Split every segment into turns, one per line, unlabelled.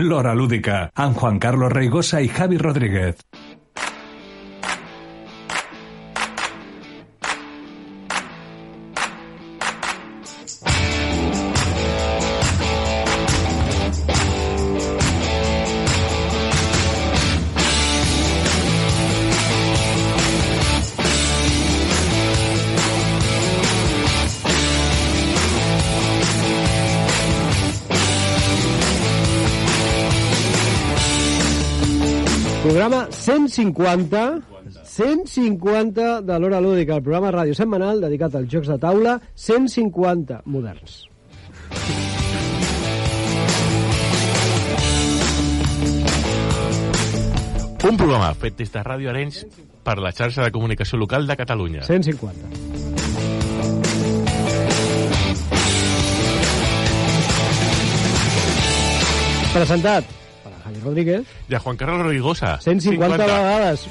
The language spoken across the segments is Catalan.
La Hora Lúdica, amb Juan Carlos Reigosa y Javi Rodríguez.
Programa 150, 150 de l'Hora Lúdica, el programa ràdio setmanal dedicat als jocs de taula, 150 moderns.
Un programa fet des de Ràdio Arenys per la xarxa de comunicació local de Catalunya.
150. Presentat per en Javi Rodríguez,
De Juan Carlos Rigosa.
150 vegades.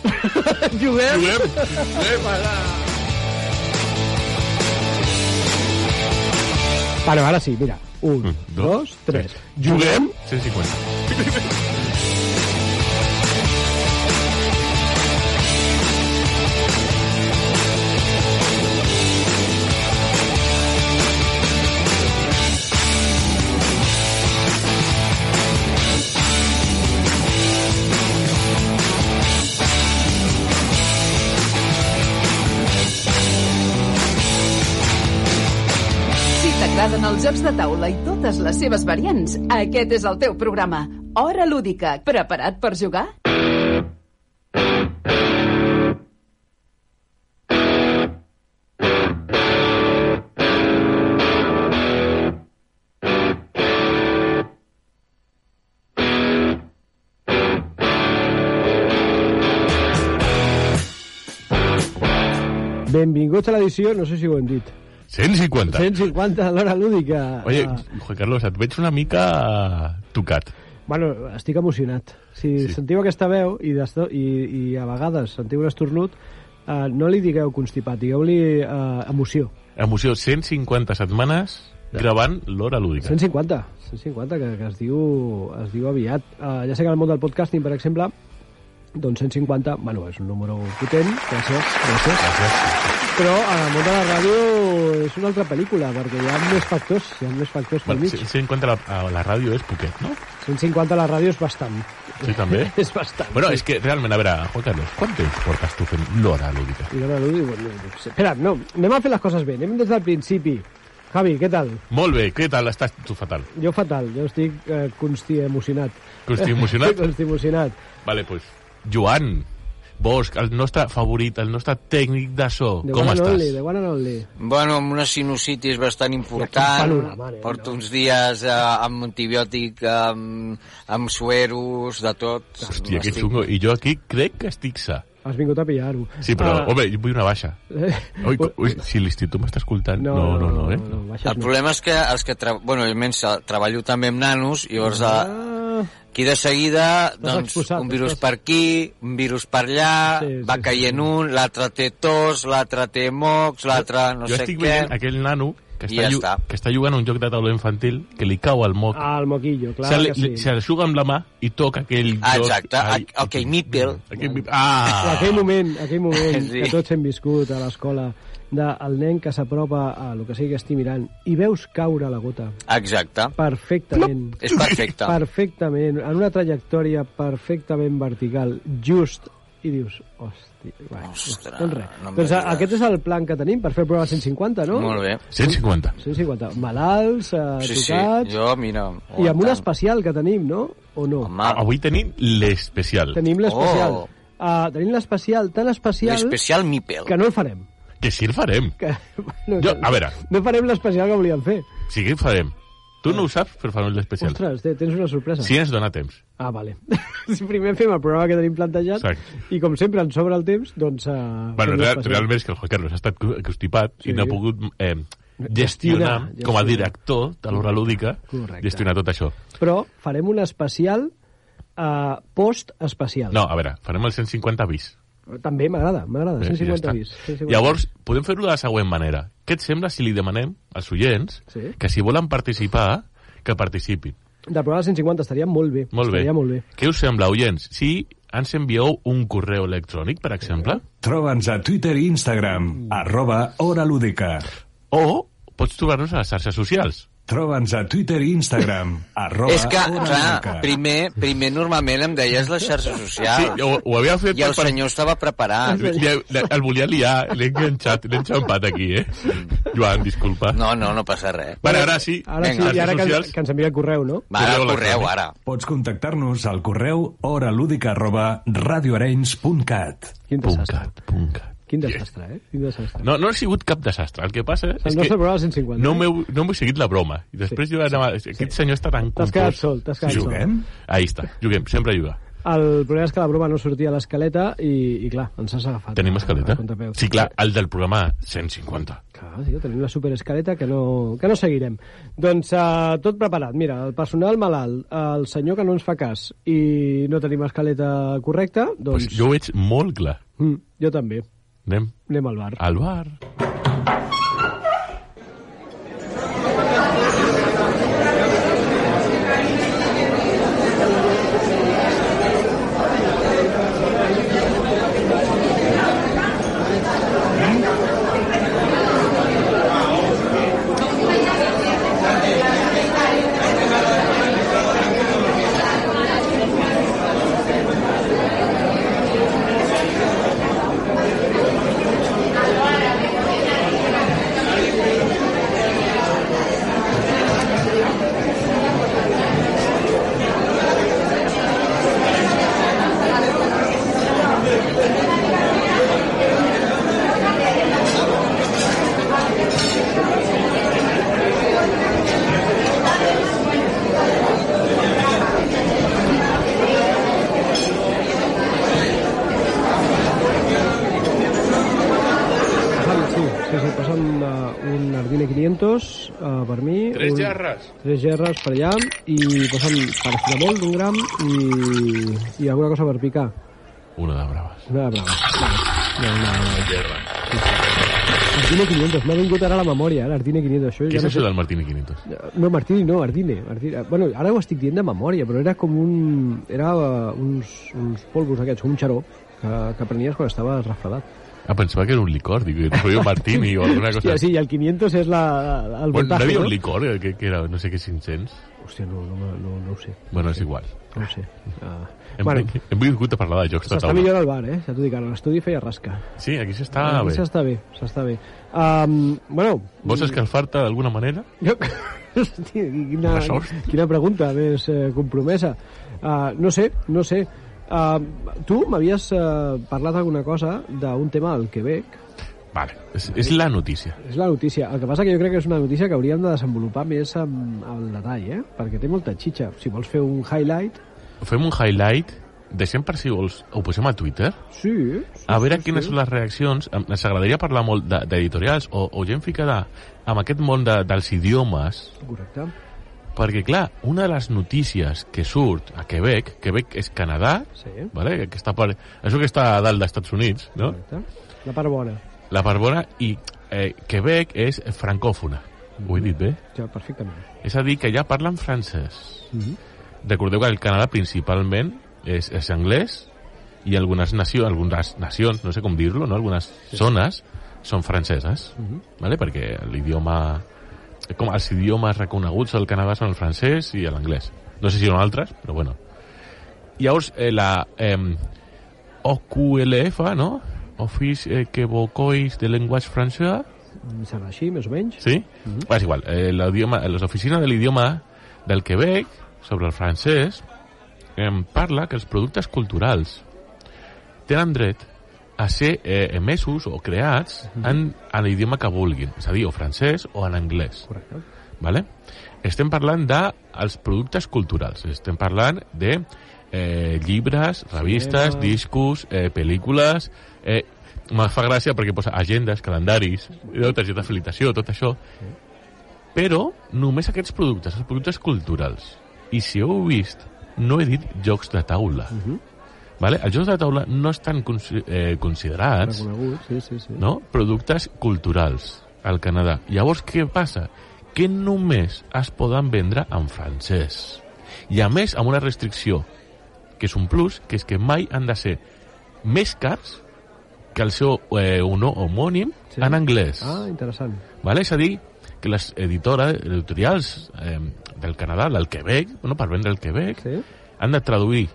Juguem?
Juguem. Juguem.
Vale, ara sí, mira. Un,
Mm, dos,
dos, tres.
Juguem. 150.
Si t'agraden els jocs de taula i totes les seves variants, aquest és el teu programa. Hora lúdica. Preparat per jugar?
Benvinguts a l'edició, no sé si ho hem dit,
150.
150 de l'Hora Lúdica.
Oye,
Ah.
Juan Carlos, et veig una mica tocat.
Bueno, estic emocionat. Si
Sí.
sí. sentiu aquesta veu i, desto, i, i a vegades sentiu un estornut, eh, no li digueu constipat, digueu-li eh, emoció.
Emoció, 150 setmanes gravant l'hora lúdica.
150, 150, que, que es diu, es diu aviat. Eh, ja sé que en el món del podcasting, per exemple, doncs 150, bueno, és un número potent, gràcies, gràcies.
Gràcies.
Però en el món de la ràdio és una altra pel·lícula, perquè hi ha més factors, hi ha més factors pel
Bueno,
mig.
150 a la, a la ràdio és poquet, no?
150 a la ràdio és bastant.
Sí, també.
és bastant.
Bueno,
sí.
és que realment, a veure, Juan Carlos, quant temps portes tu fent l'hora lúdica?
I l'hora l'udi, bueno, no sé. Espera, no, anem a fer les coses bé, anem des del principi. Javi, què tal?
Molt bé, què tal? Estàs tu fatal.
Jo fatal, jo estic eh, consti emocionat.
Consti emocionat?
consti emocionat.
Vale, pues, Joan, Bosch, el nostre favorit, el nostre tècnic de so,
De
com
one and
estàs?
Only, de one and only.
Bueno, amb una sinusitis bastant
Quin
important.
panorama, eh,
Porto
no?
uns dies eh, amb antibiòtic, amb, amb sueros, de tot.
Hòstia, que
Estic-
xungo. I jo aquí crec que estic sa.
Has vingut a pillar-ho.
Sí, però,
Ah,
home, jo vull una baixa.
eh,
Ui, co- ui, si l'institut m'està escoltant...
no,
No, no, no, eh?
no, no, baixes
El
no.
problema és que els que... Tra... Bueno, almenys eh, treballo també amb nanos, i llavors eh,
Ah,
aquí de seguida, doncs,
exposat,
un virus
estàs-
per aquí, un virus per allà,
Sí, sí,
va
sí,
caient un, l'altre té tos, l'altre té mocs, l'altre no
jo
sé
estic
què...
veient aquell nano que
I
està,
ja
llu-
està.
que està jugant a un joc de taula infantil que li cau al moc.
ah, el moquillo, clar
se, li,
que sí.
se l'eixuga amb la mà i toca aquell
Ah,
joc.
exacte,
Ai,
a- aquell nipple.
Aquell nipple.
Ah.
Ah!
Aquell moment, aquell moment
Sí.
que tots hem viscut a l'escola del nen que s'apropa a lo que sigui que estigui mirant i veus caure la gota
Exacte.
perfectament.
És perfecte.
Perfectament, en una trajectòria perfectament vertical, just, i dius, hòstia... Bueno,
Ostres,
doncs res.
no em
doncs a-
diguis.
aquest és el plan que tenim per fer el programa 150, no?
Molt bé.
150.
150. Malalts, eh,
Sí, sí,
tocats...
jo, mira...
I amb un
aguantant.
especial que tenim, no? O no?
Home,
Ah, Avui tenim l'especial,
Tenim l'especial.
Oh.
Uh, tenim l'especial tan especial
l'especial Mipel.
que no el farem.
que sí el farem.
Que, bueno,
Jo, a veure,
No farem l'especial que volíem fer.
sí que el farem. Tu no ho saps, però farem l'especial.
Eh. Ostres, té- tens una sorpresa.
Si ens dona temps.
Ah, vale. Si Primer fem el programa que tenim plantejat
Exacte.
i com sempre ens sobra el temps, doncs... Uh,
Bueno, real, realment és que el Juan Carlos ha estat co- constipat sí.
Sí.
i no ha pogut eh, gestionar,
Gestionar,
com a
gestionar.
director de l'hora lúdica,
Correcte.
gestionar tot això.
Però farem un especial uh, post-especial.
No, a veure, farem el 150 bis.
També m'agrada, m'agrada.
Eh, i
150
està.
bis. 150
Llavors, podem fer-ho de la següent manera. Què et sembla si li demanem als oients
Sí.
que si volen participar, que participin?
Del programa 150 estaria molt bé.
Molt bé.
Estaria molt bé.
Què us sembla, oients? Si ens envieu un correu electrònic, per exemple,
Troba'ns a Twitter i Instagram, arroba Hora Lúdica.
o pots trobar-nos a les xarxes socials.
Troba'ns a Twitter i Instagram, arroba
És que,
ah,
Hora
clar,
Lúdica.
primer, primer normalment em deies les xarxes
Sí,
socials.
ho, ho havia fet
I el
per...
senyor estava preparat.
Li, li, el volia liar, l'he enganxat, l'he enxampat aquí, eh? Joan, disculpa. No.
No, no, no passa res.
Bueno, ara sí.
Ara
Vinga,
sí, i ara que,
xarxes
ens-
socials.
que ens envia el correu, no?
Va, ara
Correu
el correu,
electrònic.
ara.
Pots contactar-nos al correu horalúdica arroba radioarenys.cat.
Quin
Punt
desastre.
cat, punt cat.
Quin desastre, eh? Quin desastre.
No, no ha sigut cap desastre. El que passa
És
és
el nostre
que
programa 150.
no m'heu no m'heu seguit la broma. I després jo anava... Aquest senyor està tan
T'has
confós.
quedat sol, t'has quedat sol.
Juguem?
Ahí està, juguem, sempre jugar.
El problema és que la broma no sortia a l'escaleta i, i clar, ens has agafat.
Tenim
a- a
escaleta?
contrapeus.
Sí, clar, el del programa 150.
Clar, tio, tenim la superescaleta que no, que no seguirem. Doncs uh, tot preparat. Mira, el personal malalt, el senyor que no ens fa cas i no tenim escaleta correcta,
Pues
doncs
jo ho veig molt clar.
mm, jo també.
Anem
Anem al bar.
al bar.
Passa'm, sí, sí, sí, passa'm uh, un Ardine 500 uh, per mi.
Tres
un,
gerres.
Tres gerres per allà i passa'm paracetamol d'un gram i, i alguna cosa per picar.
Una de braves.
Una de braves. No, no, no.
Guerra.
Ardine 500, m'ha vingut ara a la memòria, eh, l'Ardine 500. Això
Què
ja
és
no sé-
això del Martini 500?
No, Martini no, Ardine. Ardine. Bueno, ara ho estic dient de memòria, però era com un... Era eh, uns, uns polvos aquests, com un xaró, que, que prenies quan estaves refredat.
Ah, pensava que era un licor, dic, et feia un Martini o alguna cosa.
Hòstia, sí, i el 500 és la, el
Bueno, no
voltatge,
havia un
no?
licor, eh, que, que era, no sé què, 500?
Hòstia, no, no, me- no, no ho sé.
Bueno, és igual.
No ho sé. Uh,
Hem,
bueno,
bueno, hem vingut a parlar de jocs de
s'està
taula.
millor al bar, eh? Ja t'ho dic ara, l'estudi feia rasca.
Sí, aquí s'està
Aquí
bé.
S'està bé, s'està bé. Um, bueno...
Vols escalfar-te d'alguna manera?
Jo... Hòstia, quina,
Ressort.
quina pregunta més eh, compromesa. Uh, no sé, no sé. Uh, tu m'havies uh, parlat alguna cosa d'un tema al Quebec.
Vale, és, és la notícia.
És la notícia. El que passa que jo crec que és una notícia que hauríem de desenvolupar més amb, amb el detall, eh? Perquè té molta xitxa. Si vols fer un highlight...
Fem un highlight, deixem per si vols, ho posem a Twitter,
Sí, sí
a veure
sí,
quines
sí.
són les reaccions. Em- Ens agradaria parlar molt de- d'editorials o, o gent ficada amb aquest món de, dels idiomes,
Correcte.
perquè, clar, una de les notícies que surt a Quebec, Quebec és Canadà,
Sí.
vale? que està per, això que està a dalt dels Estats Units, no?
Correcte. La part bona.
la part bona, i eh, Quebec és francòfona. Ho he dit bé?
Ja, perfectament.
És a dir, que ja parlen francès.
Mm -hmm.
Recordeu que el Canadà principalment és, és anglès i algunes nacions, algunes nacions, no sé com dir-lo, no? algunes zones són franceses, vale? perquè l'idioma... Com els idiomes reconeguts al Canadà són el francès i l'anglès. No sé si són altres, però bueno. Llavors, eh, la eh, OQLF, no? Office eh, Quebecois de Language Français,
Mm, Serà així, més o menys.
Sí? Va, és igual. Eh, l'idioma, les oficines de l'idioma del Quebec, sobre el francès, em parla que els productes culturals tenen dret a ser eh, emesos o creats en, en l'idioma que vulguin, és a dir, o francès o en anglès.
Correcte.
Vale? Estem parlant de els productes culturals, estem parlant de eh, llibres, revistes,
Cinema.
discos, eh, pel·lícules... Eh, me fa gràcia perquè posa agendes, calendaris, no, targeta de felicitació, tot això. Però només aquests productes, els productes culturals. I si heu vist, no he dit jocs de taula. vale? Els jocs de taula no estan consi eh, considerats
Reconegut, sí, sí, sí.
no? productes culturals al Canadà. Llavors, què passa? Que només es poden vendre en francès. I a més, amb una restricció, que és un plus, que és que mai han de ser més cars que el seu eh, un homònim
Sí.
sí. en anglès.
Ah, interessant.
Vale? És a dir, que les editores, editorials eh, del Canadà, del Quebec, bueno, per vendre el Quebec,
Sí?
han de traduir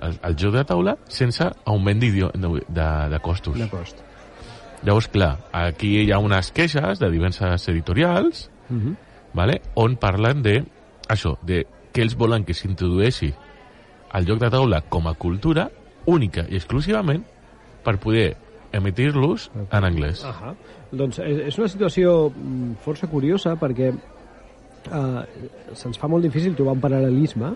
el, el joc de taula sense augment d'idi- de, de, de costos.
De cost.
Llavors, clar, aquí hi ha unes queixes de diverses editorials
Mm -hmm.
vale? on parlen de això, de que ells volen que s'introdueixi el joc de taula com a cultura única i exclusivament per poder emitir-los en anglès.
Ahà. Doncs eh, és, és una situació mm, força curiosa perquè eh, se'ns fa molt difícil trobar un paral·lelisme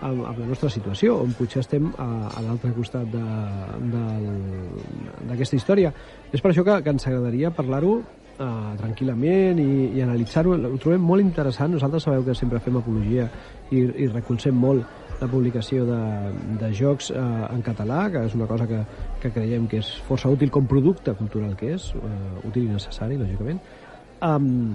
amb, amb la nostra situació, on potser estem a, a l'altre costat de- del- d'aquesta història. És per això que, que ens agradaria parlar-ho eh, tranquil·lament i, i analitzar-ho. Ho trobem molt interessant. Nosaltres sabeu que sempre fem apologia i, i recolzem molt la publicació de, de jocs eh, en català, que és una cosa que, que creiem que és força útil com producte cultural que és, eh, útil i necessari, lògicament. Um,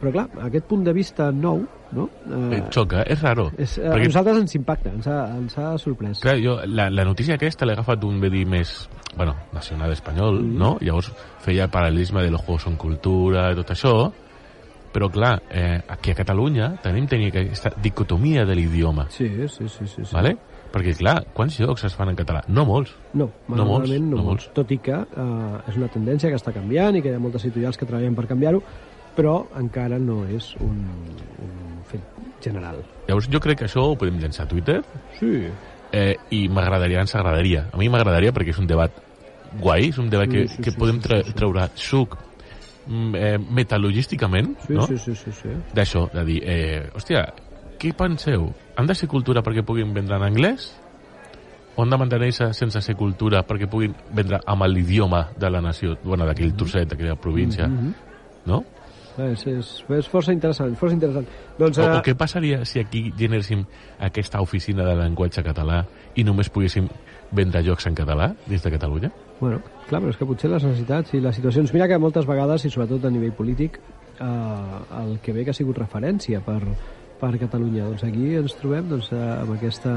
però clar, aquest punt de vista nou, no?
Eh,
Eh,
xoca, és raro.
és, eh, a
perquè,
nosaltres ens impacta, ens ha, ens ha sorprès.
clar, jo, la, la notícia aquesta l'he agafat d'un verí més, bueno, nacional espanyol,
Mm-hmm.
mm. no? Llavors feia el paral·lelisme de los juegos en cultura i tot això, però clar, eh, aquí a Catalunya tenim tenir aquesta dicotomia de l'idioma,
Sí, sí, sí. sí, sí.
vale? perquè clar, quants jocs es fan en català? No molts.
No,
No molts,
malauradament no,
no
molts.
molts.
Tot i que eh, és una tendència que està canviant i que hi ha moltes editorials que treballen per canviar-ho, però encara no és un, un fet general.
Llavors jo crec que això ho podem llançar a Twitter
Sí,
eh, i m'agradaria, ens agradaria. A mi m'agradaria perquè és un debat guai, és un debat que,
Sí, sí,
que
sí,
podem
sí,
tra
sí, sí.
treure suc mm, eh, metal·logísticament,
sí,
no?
no? sí, sí, sí, sí.
D'això, de dir, eh, hòstia, què penseu? Han de ser cultura perquè puguin vendre en anglès? O han de mantenir-se sense ser cultura perquè puguin vendre amb l'idioma de la nació, bueno, d'aquell
Mm-hmm.
trosset, d'aquella província,
Mhm.
no?
És, és, és força interessant, força interessant. Doncs,
O,
eh,
o què passaria si aquí generéssim aquesta oficina de llenguatge català i només poguéssim vendre jocs en català dins de Catalunya?
Bueno, clar, però és que potser les necessitats i les situacions... Mira que moltes vegades, i sobretot a nivell polític, eh, el Quebec ha sigut referència per, per Catalunya. Doncs aquí ens trobem doncs, eh, amb, aquesta,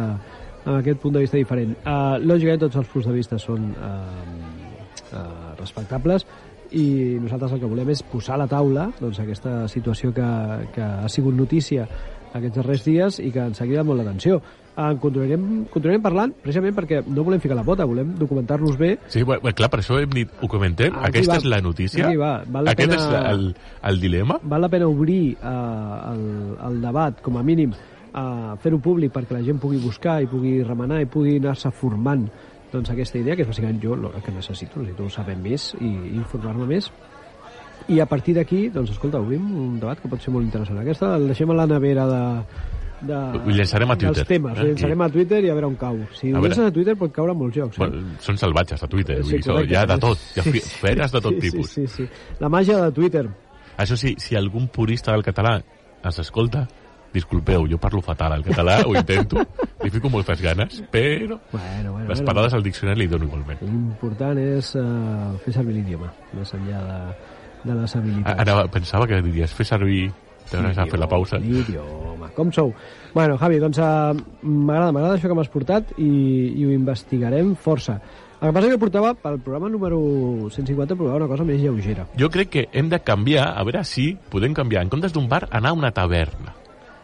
amb aquest punt de vista diferent. Eh, lògicament, tots els punts de vista són eh, eh, respectables i nosaltres el que volem és posar a la taula doncs, aquesta situació que, que ha sigut notícia aquests darrers dies i que ens ha cridat molt l'atenció. En continuarem, continuarem parlant precisament perquè no volem ficar la pota, volem documentar-nos bé
Sí, bueno, bueno, clar, per això hem dit, ho comentem,
Aquí
aquesta
va.
és la notícia,
Aquí va, val la
aquest
pena-
és la- el, el dilema.
val la pena obrir eh, el, el debat, com a mínim, eh, fer-ho públic perquè la gent pugui buscar i pugui remenar i pugui anar-se formant doncs, aquesta idea, que és bàsicament jo el que necessito, necessito saber més i informar-me més. I a partir d'aquí, doncs, escolta, obrim un debat que pot ser molt interessant. Aquesta el deixem a la nevera de, de,
Ho llançarem a Twitter,
dels temes.
eh?
Ho llançarem
I-
a Twitter i a veure on cau. Si
A
ho
veure.
llances a Twitter pot caure a molts jocs. Eh?
Bueno, són salvatges a Twitter,
Sí,
sí, això,
correcte.
hi ha de tot, hi ha
Sí,
fi-
sí.
feres de tot
sí,
tipus.
Sí, sí, sí. La màgia de Twitter.
Això sí, si algun purista del català ens escolta, disculpeu, jo parlo fatal al català, ho intento, li fico moltes ganes, però
Bueno, bueno, Doncs.
les
bueno.
parades al diccionari li dono igualment.
L'important és uh, fer servir l'idioma, més enllà de, de les
A-
habilitats.
Ara pensava que diries fer servir... T'hauràs de fer la pausa.
L'idioma, com sou? Bueno, Javi, doncs uh, m'agrada, m'agrada això que m'has portat i, i ho investigarem força. El que passa és que portava pel programa número 150 portava una cosa més lleugera.
Jo crec que hem de canviar, a veure si podem canviar, en comptes d'un bar, anar a una taverna.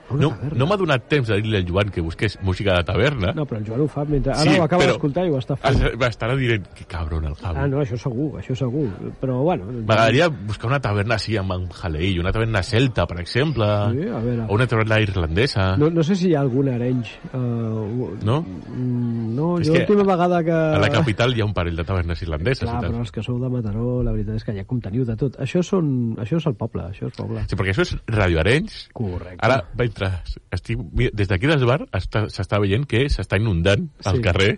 A una
no
taverna?
no m'ha donat temps de dir-li al Joan que busqués música de taverna.
No, però el Joan ho fa mentre... Ara ho acaba d'escoltar i ho està fent.
es- Estarà dient, que cabron el Javi.
Ah, no, això segur, això segur. Però, bueno... doncs-
M'agradaria buscar una taverna així amb en Jalei, una taverna celta, per exemple,
Sí, a veure.
o una taverna irlandesa.
No, no sé si hi ha algun arenys. Uh,
No?
No,
És
jo
que
l'última vegada que...
A la capital hi ha un parell de tavernes irlandeses.
Ah. Clar,
i tal.
però els que sou de Mataró, la veritat és que ja com teniu de tot. Això, són, això és el poble, això és poble.
Sí, perquè això és Radio Arenys.
Correcte.
Ara, mentre estic... mira, Des d'aquí del bar està- s'està veient que s'està inundant
Sí.
el carrer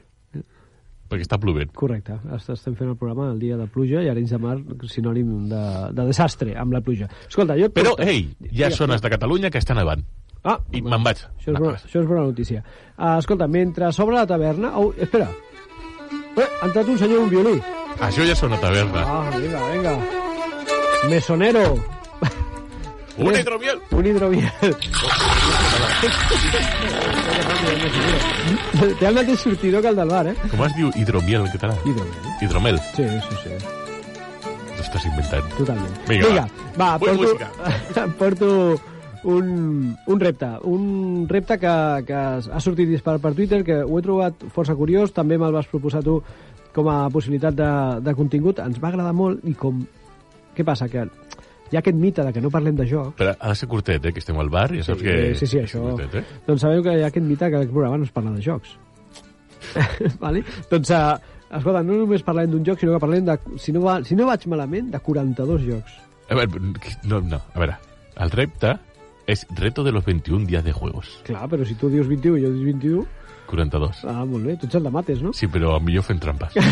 perquè està plovent.
Correcte, Est- estem fent el programa el dia de pluja i Arenys de Mar sinònim de, de desastre amb la pluja. Escolta, jo... et
Però,
porto-
ei, hi ha
Digue'm.
zones de Catalunya que estan nevant.
Ah,
I me'n vaig.
això és, bona, això és bona notícia. Uh, escolta, mentre s'obre la taverna... Oh, espera. Eh, ha entrat un senyor amb un violí.
Això ja és una taverna.
Ah, vinga, vinga. Mesonero.
Un hidromiel.
Un hidromiel. Té el mateix sortidor que el del bar, eh?
Com es diu hidromiel en català?
Hidromiel.
Hidromel.
Sí, sí, sí.
T'ho estàs inventant.
Totalment.
Vinga,
Vinga va,
Vull
porto, porto un, un repte. Un repte que, que ha sortit disparat per Twitter, que ho he trobat força curiós, també me'l vas proposar tu com a possibilitat de, de contingut. Ens va agradar molt i com... Què passa? Que hi ha aquest mite de que no parlem de jocs,
Però ha de ser curtet, eh, que estem al bar, ja saps que...
Sí, sí, sí, això...
Curtet, eh?
Doncs sabeu que hi ha aquest mite que el programa no es parla de jocs. vale? Doncs, uh, escolta, no només parlem d'un joc, sinó que parlem de... Si no, va, si no vaig malament, de 42 jocs.
A veure, no, no, a veure. El repte és reto de los 21 días de juegos.
Clar, però si tu dius 21 i jo dius 21...
42.
Ah, molt bé, tu ets el de mates, no?
Sí, però millor fent trampes.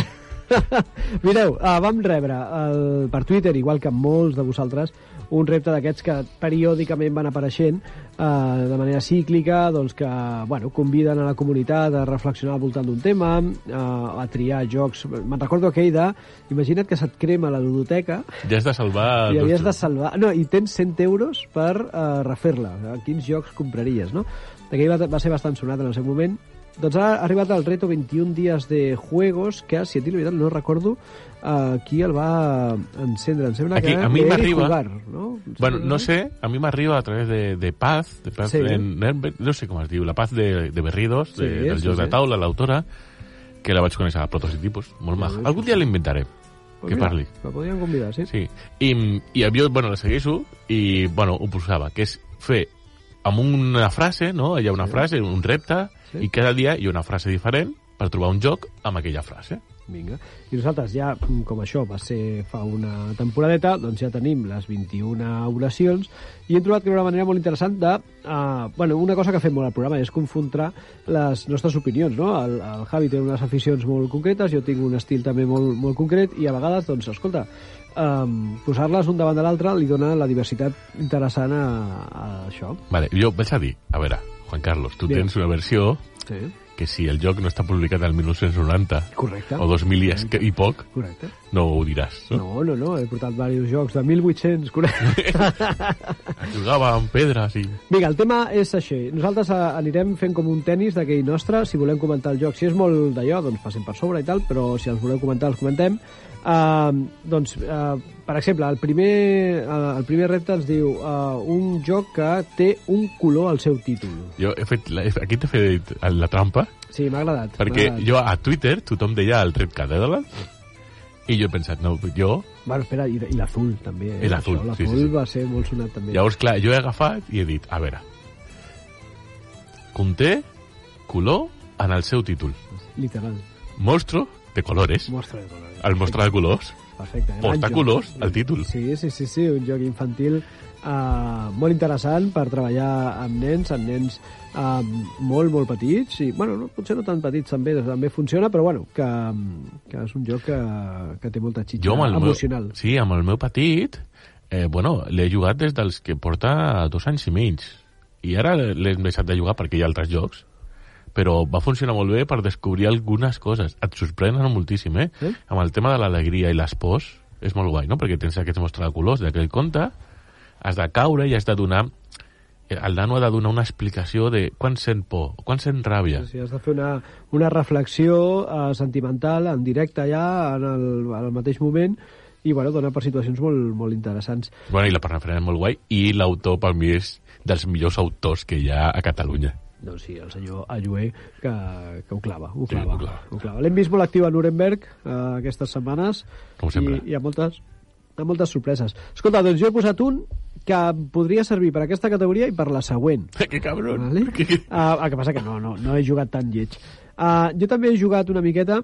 Mireu, uh, vam rebre el, per Twitter, igual que molts de vosaltres, un repte d'aquests que periòdicament van apareixent uh, de manera cíclica, doncs que bueno, conviden a la comunitat a reflexionar al voltant d'un tema, uh, a triar jocs... Me'n recordo aquell de... Imagina't que se't crema la ludoteca
Ja has de salvar...
i
dos
havies de
jocs.
salvar... No, i tens 100 euros per uh, refer-la. A Quins jocs compraries, no? Aquell va, va ser bastant sonat en el seu moment. Doncs ara ha arribat el reto 21 dies de juegos, que, si et dic la veritat, no recordo uh, qui el va encendre. Em sembla
Aquí,
que
a mi
era Eric
m'arriba.
Jugar, no? Em
Bueno,
sembla,
no sé, a mí me arriba a través de, de Paz, de Paz
Sí.
de Nürnberg, no sé com es diu, la Paz de, de Berridos, de,
Sí,
del
sí,
joc
sí.
de taula, l'autora, que la vaig conèixer a prototipus, molt maja. Algun dia l'inventaré,
Pues
que
mira,
parli.
La podríem convidar, sí?
Sí. I, i jo, bueno, la segueixo i, bueno, ho posava, que és fer amb una frase, no? Hi ha una frase, un repte,
Sí.
i cada dia hi ha una frase diferent per trobar un joc amb aquella frase.
Vinga. I nosaltres ja, mm, com això va ser fa una temporadeta, doncs ja tenim les 21 oracions i hem trobat que hi ha una manera molt interessant de... Uh, bueno, una cosa que fem molt al programa és confrontar les nostres opinions, no? El, el Javi té unes aficions molt concretes, jo tinc un estil també molt, molt concret i a vegades, doncs, escolta, um, posar-les un davant de l'altre li dona la diversitat interessant a, a això.
Vale, jo vaig a dir, a veure, Juan Carlos, tu
Digue'm.
tens una versió
Sí.
que si el joc no està publicat al 1990
Correcte.
o 2000 i, es- i poc,
Correcte.
no ho diràs. No?
No, no, no, he portat diversos jocs de 1840.
Jugava amb pedres i...
Vinga, el tema és així. Nosaltres eh, anirem fent com un tennis d'aquell nostre, si volem comentar el joc. Si és molt d'allò, doncs passem per sobre i tal, però si els voleu comentar, els comentem. Uh, doncs, uh, per exemple, el primer, uh, el primer repte ens diu uh, un joc que té un color al seu títol.
Jo he fet... La, aquí t'he fet la trampa,
Sí, m'ha agradat.
perquè
m'ha agradat.
jo a Twitter tothom deia el tret catedral i jo he pensat, no, jo...
Bueno, espera, i, i l'azul també. Eh?
I l'azul,
Això,
sí,
L'azul
sí, sí.
va ser molt sonat també.
Llavors, clar, jo he agafat i he dit, a veure, conté color en el seu títol.
Literal.
Monstro de colores,
Mostra de color.
el mostre de colors,
Perfecte. gran
porta
joc.
colors al títol.
Sí, sí, sí, sí, un joc infantil uh, molt interessant per treballar amb nens, amb nens uh, molt, molt petits, i, bueno, no, potser no tan petits també, també funciona, però bueno, que, que és un joc que, que té molta xitxa
Jo amb el
emocional.
meu... Sí, amb el meu petit, eh, bueno, l'he jugat des dels que porta dos anys i mig. I ara l'he deixat de jugar perquè hi ha altres jocs. Però va funcionar molt bé per descobrir algunes coses. Et sorprenen moltíssim, eh?
Eh?
Amb el tema de l'alegria i les pors, és molt guai, no? Perquè tens aquests mostrar de colors d'aquell conte, has de caure i has de donar... eh, El nano ha de donar una explicació de quan sent por, quan sent ràbia.
Sí, has de fer una, una reflexió uh, sentimental en directe ja, en el, en el mateix moment, i bueno, dona per situacions molt, molt interessants.
Bueno, i la parafrena és molt guai, i l'autor per mi és dels millors autors que hi ha a Catalunya.
Doncs sí, el senyor Allué, que, que ho clava, ho
Sí,
clava.
ho clava.
ho clava. L'hem vist molt actiu a Nuremberg eh, aquestes setmanes.
Com sempre.
I, i a moltes, a moltes sorpreses. Escolta, doncs jo he posat un que podria servir per aquesta categoria i per la següent.
que cabrón.
Vale? Uh, el que passa que no, no, no he jugat tan lleig. Uh, jo també he jugat una miqueta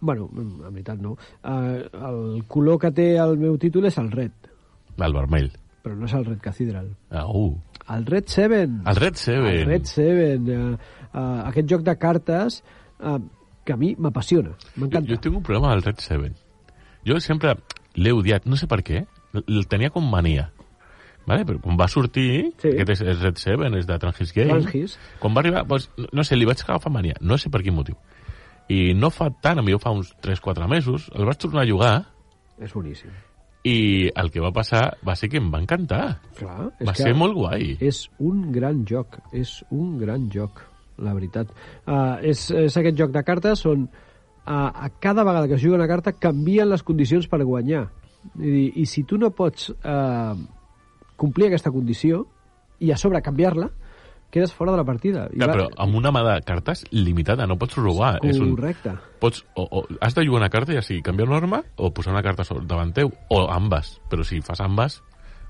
Bueno, mm, en veritat no. Uh, el color que té el meu títol és el red,
El vermell.
però no és el red cathedral.
Ah, uh.
El red 7!
El Red Seven.
El Red Seven. eh, eh, aquest joc de cartes eh, que a mi m'apassiona,
Jo,
m'encanta.
jo tinc un problema al Red Seven. Jo sempre l'he odiat, no sé per què. L- El tenia com mania. Vale? Però quan va sortir,
Sí.
sí. aquest és, és Red Seven, és de Transgis Games.
Transgis.
Quan va arribar, doncs, no- no sé, li vaig agafar mania. No sé per quin motiu. I no fa tant, a mi fa uns 3-4 mesos, el vaig tornar a jugar
És boníssim.
I el que va passar va ser que em va encantar.
Clar,
Va ser molt guai.
És un gran joc, és un gran joc, la veritat. Uh, és, és aquest joc de cartes on uh, a cada vegada que es juga una carta canvien les condicions per guanyar. I, dir, i si tu no pots uh, complir aquesta condició i a sobre canviar-la, quedes fora de la partida. I
Clar,
va-
però amb una mà de cartes limitada, no pots robar. És un,
Correcte.
pots, o, o, has de jugar una carta, ja sigui canviar una arma o posar una carta sobre, davant teu, o ambes. Però si fas ambes,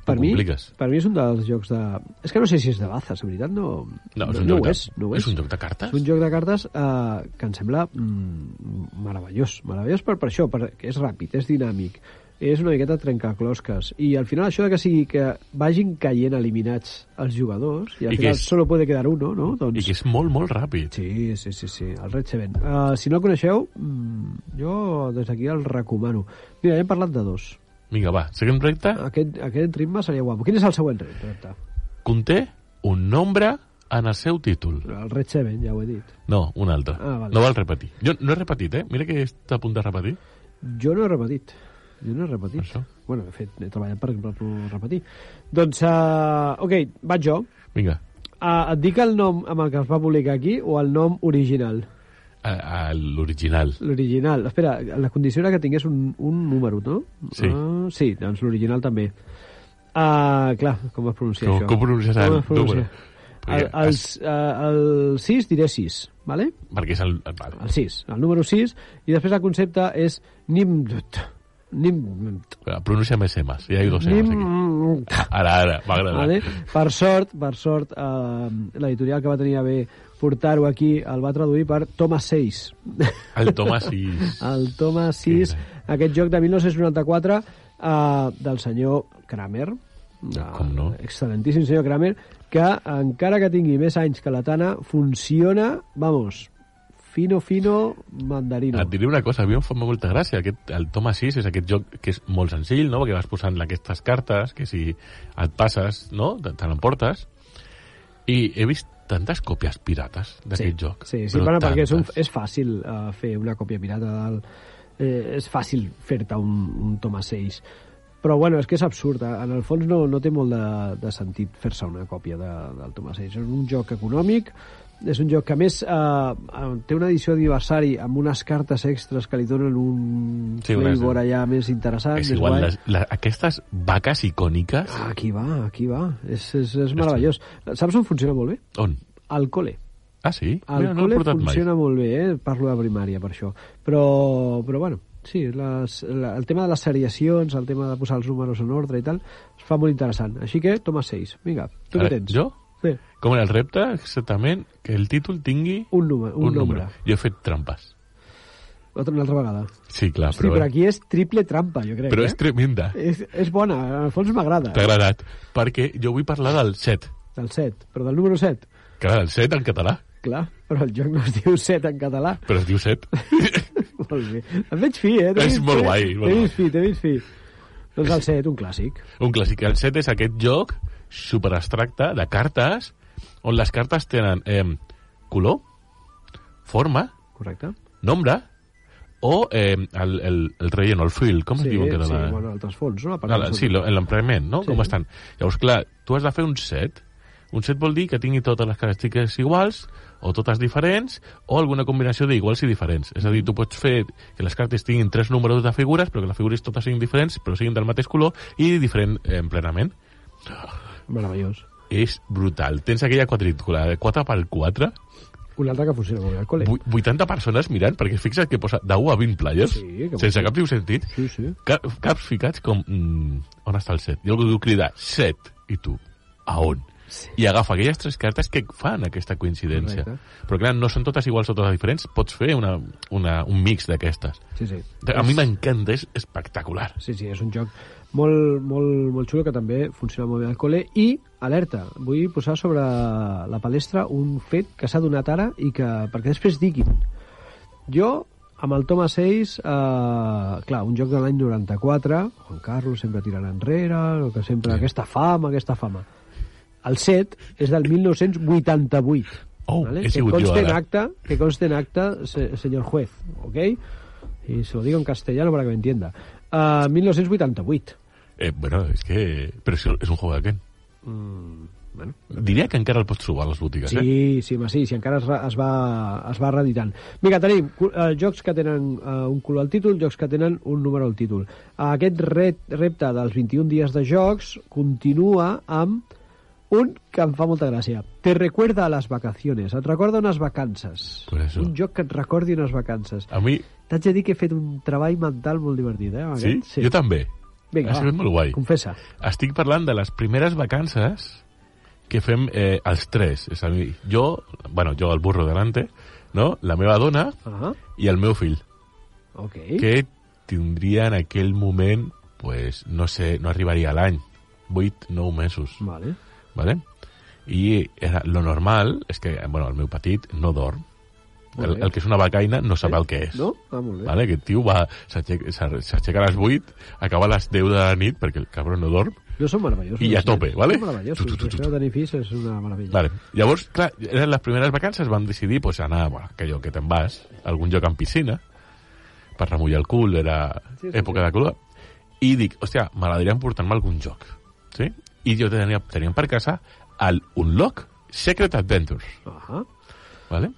per
ho
mi,
compliques.
per mi és un dels jocs de... És que no sé si és de bazes, en veritat, no...
No, és un
no,
joc
ho
de-
és, no ho és.
és un joc de cartes?
És un joc de cartes eh, que em sembla mm, meravellós. Meravellós per, per això, perquè és ràpid, és dinàmic, és una miqueta trencaclosques. I al final això de que sigui que vagin caient eliminats els jugadors, i al
I que
final
és-
solo puede quedar uno, no?
I
Doncs...
que és molt, molt ràpid.
Sí, sí, sí, sí, el Red Seven. Uh, si no el coneixeu, mm, jo des d'aquí el recomano. Mira, ja hem parlat de dos.
Vinga, va, seguim recte.
Aquest, aquest ritme seria guapo. Quin és el següent repte?
Conté un nombre en el seu títol.
El Red Seven, ja ho he dit.
No, un altre.
Ah, vale.
No val repetir. Jo no he repetit, eh? Mira que està a punt de repetir.
Jo no he repetit. Jo no he repetit.
Per això.
Bueno, de fet, he treballat per, per no repetir. Doncs, uh, ok, vaig jo.
Vinga.
Uh, et dic el nom amb el que es va publicar aquí o el nom original?
A, a l'original.
L'original. Espera, la condició era que tingués un, un número, no?
Sí.
Ah, sí, doncs l'original també. Uh, clar, com es pronuncia
Com,
això?
com pronuncias
Com
el
es pronuncia?
número?
El,
Perquè,
el,
es,
el, el 6 diré 6, vale?
perquè és el... el vale.
el 6, el número 6, i després el concepte és nimdut. Nimdut.
Espera, Pronuncia més emes. Ja hi ha dos emes aquí. Ah,
Nimdut.
Ara, ara, m'ha agradat.
Vale? Per sort, per sort, eh, l'editorial que va tenir a bé portar-ho aquí el va traduir per Toma 6.
El Tomàs i...
El Toma 6, aquest joc de 1994 eh, del senyor Kramer, Eh,
No, com no?
excel·lentíssim senyor Kramer, que encara que tingui més anys que la Tana, funciona, vamos, fino, fino, mandarino.
Et diré una cosa, a mi em fa molta gràcia. Aquest, el Toma 6 és aquest joc que és molt senzill, no? que vas posant aquestes cartes, que si et passes, no? te, te l'emportes. I he vist tantes còpies pirates d'aquest joc.
Sí, sí,
però
bueno, perquè és, un,
tantes.
és fàcil uh, fer una còpia pirata del... Eh, és fàcil fer-te un, un Toma 6. Però, bueno, és que és absurd. eh? En el fons no, no té molt de, de sentit fer-se una còpia de, del Toma 6. És un joc econòmic, és un joc que, a més, eh, té una edició d'aniversari amb unes cartes extres que li donen un
Sí,
sí,
unes-
flavor allà més interessant.
És
més
igual,
guai.
les, les, aquestes vaques icòniques...
Ah, aquí va, aquí va. És, és, és meravellós. Saps on funciona molt bé?
On?
Al col·le.
Ah, sí?
El
Mira, no l'he
col·le
portat
funciona molt bé, eh? parlo de primària per això. Però, però bueno, sí, les, la, el tema de les seriacions, el tema de posar els números en ordre i tal, es fa molt interessant. Així que, toma 6. Vinga, tu
Ara,
què tens?
jo?
Sí,
mai. Com era el repte, exactament, que el títol tingui
un, número, un,
un
nombre.
Jo he fet trampes.
Otra, una altra vegada.
Sí, clar,
Hosti,
Ah, però...
però aquí és triple trampa, jo crec.
però
eh?
és tremenda.
és, és bona, en el fons m'agrada.
T'ha agradat. Perquè jo vull parlar del 7.
Del 7, però del número 7.
Clar, el 7 en català,
Clar, però el joc no es diu 7 en català.
però es diu 7.
molt bé. Em veig fi, eh? T'he
És
vist
molt
fi,
guai, molt
T'he
guai.
vist fi, t'he vist fi. Doncs el 7, un clàssic.
Un clàssic. El 7 és aquest joc superabstracte de cartes on les cartes tenen eh, color, forma,
Correcte.
nombre o eh, el, el, el relleno, el fill, com es diu en català?
Sí, bueno, el transfons, no? La part
No,
de
la-
sota.
sí, lo- en l'empreniment, no?
Sí.
Sí. Com estan? Llavors, clar, tu has de fer un set. Un set vol dir que tingui totes les característiques iguals, o totes diferents, o alguna combinació d'iguals i diferents. És a dir, tu pots fer que les cartes tinguin tres números de figures, però que les figures totes siguin diferents, però siguin del mateix color i diferent eh, emplenament.
Meravellós.
És brutal. Tens aquella quadrícula de 4 per 4,
Un altre que funciona molt bé al col·le.
80 persones mirant, perquè fixa't que posa de 1 a 20 players,
Sí, que
sense
bo.
cap ni un sentit,
Sí, sí.
Cap, caps ficats com... Mm, on està el set? I algú diu cridar, set, i tu, a on?
Sí.
I agafa aquelles tres cartes que fan aquesta coincidència.
Correcte.
Però clar, no són totes iguals o totes diferents, pots fer una, una, un mix d'aquestes.
Sí, sí.
A mi m'encanta, és espectacular.
Sí, sí, és un joc molt, molt, molt xulo que també funciona molt bé al col·le. I, alerta, vull posar sobre la palestra un fet que s'ha donat ara i que perquè després diguin. Jo, amb el Toma 6, eh, clar, un joc de l'any 94, Juan Carlos sempre tirant enrere, el que sempre, aquesta fama, aquesta fama. El 7 és del 1988.
Oh, he
que
sigut jo
conste en
ara.
acta, que conste en acta, se- señor juez, ¿ok? Y se lo digo en castellano para que me entienda. Ah, 1988.
Eh, bueno, és que... Però és, és un joc de Ken.
Mm, Bueno.
Diria que encara el pots trobar a les botigues, eh?
Sí, sí, home, sí, si encara es, re- es, va, es va reeditant. Vinga, tenim eh, jocs que tenen eh, un color al títol, jocs que tenen un número al títol. Eh, Aquest ret, repte dels 21 dies de jocs continua amb un que em fa molta gràcia. Te recuerda a las vacaciones. Et recorda unes vacances.
Por eso.
Un joc que et recordi unes vacances.
A mi,
T'haig de dir que he fet un treball mental molt divertit, eh? amb
sí?
aquest.
sí? Jo també.
Vinga,
ha
va,
sigut molt guai.
Confessa.
Estic parlant de les primeres vacances que fem eh, els tres. És a dir, jo, bueno, jo el burro delante, no? la meva dona
Ah,
i el meu fill,
ok.
que tindria en aquell moment, pues, no sé, no arribaria a l'any, 8, 9 mesos,
Vale.
¿vale? I era, lo normal és que, bueno, el meu petit no dorm.
Molt
El,
bé.
el que és una becaina no sap el que és.
No? Ah, molt bé.
Vale, aquest tio va, s'aixeca s'ar- s'aixeca a les 8, acaba a les 10 de la nit, perquè el cabron no dorm,
No són meravellosos.
I a
els nens.
tope, vale?
Són meravellosos.
Tu, tu, tu, tu,
Això de tenir fills és una meravella.
Vale. Llavors, clar, eren les primeres vacances, vam decidir pues, anar, bueno, que jo, que te'n vas, a algun lloc amb piscina, per remullar el cul, era
Sí,
sí,
sí,
sí, època sí. de calor, i dic, hòstia, m'agradaria emportar-me a algun joc, sí? I jo tenia, teníem per casa el Unlock Secret Adventures,
Ahà.
vale?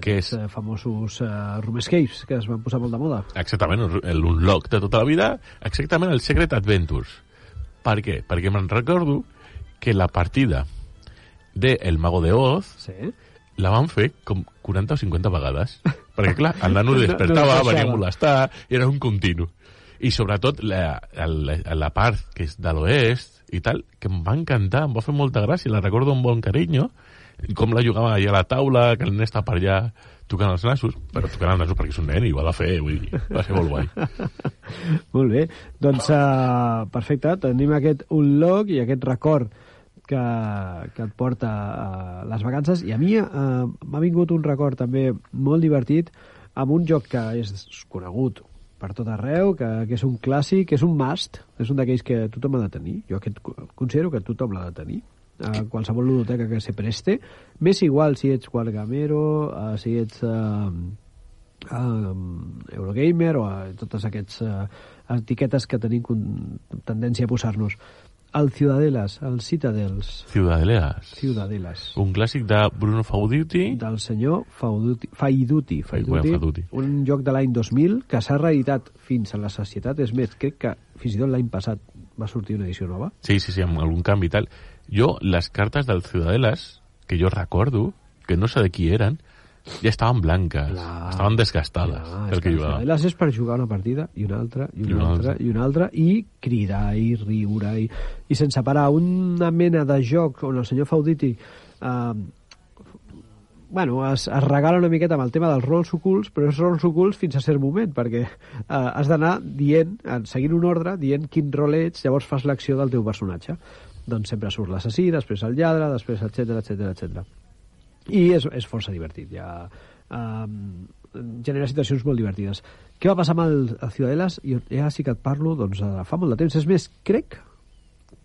Que és
Eh, famosos eh, room escapes que es van posar molt de moda.
exactament el Unlock de tota la vida, exactament el Secret Adventures. Per què? Perquè me'n recordo que la partida de El Mago de Oz
Sí.
la van fer com 40 o 50 vegades. Perquè, clar, el nano
No,
despertava,
no
venia a
deixava.
molestar, era un continu. I sobretot la, la, la part que és de l'oest i tal, que em va encantar, em va fer molta gràcia, la recordo amb bon carinyo, i com la jugava allà a la taula, que el nen està per allà tocant els nassos, però tocant els nassos perquè és un nen i ho ha de fer, vull dir, va ser molt guai.
Molt bé. Doncs eh, perfecte, tenim aquest un log i aquest record que, que et porta a les vacances. I a mi eh, m'ha vingut un record també molt divertit amb un joc que és conegut per tot arreu, que, que és un clàssic, que és un must, és un d'aquells que tothom ha de tenir. Jo aquest co- considero que tothom l'ha de tenir a qualsevol ludoteca que se preste. Més igual si ets guargamero, eh, si ets... Eh, um, Eurogamer o a totes aquestes uh, etiquetes que tenim con- tendència a posar-nos. El Ciudadelas, el Citadels,
Ciudadeleas.
Ciudadelas,
Un clàssic de Bruno Fauduti.
del senyor Fauduti, Faiduti, Faiduti,
Faiduti.
un joc de l'any 2000 que s'ha reeditat fins a la societat, és més, crec que fins i tot l'any passat va sortir una edició nova.
Sí, sí, sí, amb algun canvi i tal. Jo, les cartes del Ciudadelas, que jo recordo, que no sé de qui eren, ja estaven blanques,
Clar.
estaven desgastades,
Ah,
ah,
és
pel que
el
jugava.
Ciudadelas és per jugar una partida i una altra, i una, I una altra, i una altra, i cridar, i riure, i, i sense parar. Una mena de joc on el senyor Fauditi eh, bueno, es, es regala una miqueta amb el tema dels rols ocults, però és rols ocults fins a cert moment, perquè eh, has d'anar dient, eh, seguint un ordre, dient quin rol ets, llavors fas l'acció del teu personatge. Doncs sempre surt l'assassí, després el lladre, després etc etc etc i és, és força divertit ja um, genera situacions molt divertides què va passar amb el, el Ciudadelas jo ja sí que et parlo doncs, de fa molt de temps és més, crec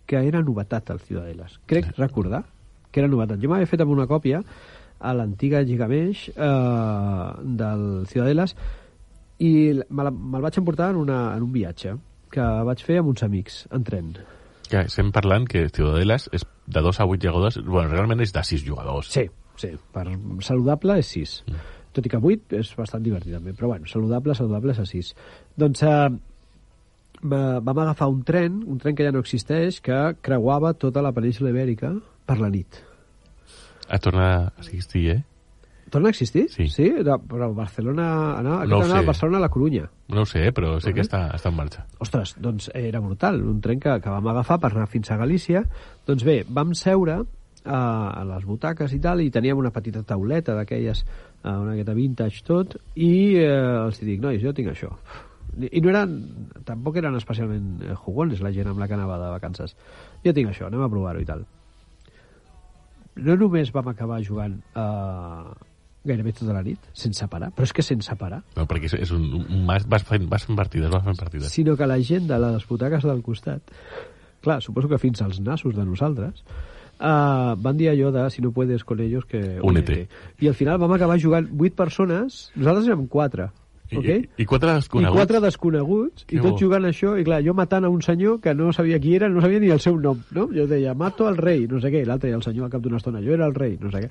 que era novetat el Ciudadelas crec recordar que era novetat jo m'havia fet amb una còpia a l'antiga Gigamesh eh, del Ciudadelas i l- me la- me'l vaig emportar en, una, en un viatge que vaig fer amb uns amics en tren
Que estem parlant que Ciudadelas és de 2 a 8 jugadors, bueno, realment és de 6 jugadors.
Sí, sí. Per saludable és 6. Mm. Tot i que 8 és bastant divertit també, però bueno, saludable, saludable és a 6. Doncs eh, va- vam agafar un tren, un tren que ja no existeix, que creuava tota la península ibèrica per la nit.
A tornar a existir, eh?
Torna a existir?
Sí.
sí? Era- Però Barcelona... Anar,
No
no
ho
anar
sé.
a Barcelona a la Corunya.
No ho sé, eh, però sé que està, està en marxa.
Ostres, doncs era brutal, un tren que, que vam agafar per anar fins a Galícia. Doncs bé, vam seure eh, a les butaques i tal, i teníem una petita tauleta d'aquelles, eh, una miqueta vintage tot, i eh, els dic, nois, jo tinc això. I no eren, tampoc eren especialment eh, jugones la gent amb la que anava de vacances. Jo tinc això, anem a provar-ho i tal no només vam acabar jugant eh, gairebé tota la nit, sense parar, però és que sense parar,
No, perquè és, és un, un mas, vas, fent, vas fent partides, vas fent partides.
sinó que la gent de les butaques del costat, clar, suposo que fins als nassos de nosaltres, uh, van dir allò de si no puedes con ellos que...
Únete.
I al final vam acabar jugant 8 persones, nosaltres érem 4, ok?
I, i quatre
I
desconeguts.
quatre desconeguts,
Que
i tots
bo.
jugant a això, i clar, jo matant a un senyor que no sabia qui era, no sabia ni el seu nom, no? Jo deia, mato al rei, no sé què, i l'altre, i el senyor al cap d'una estona, jo era el rei, no sé què.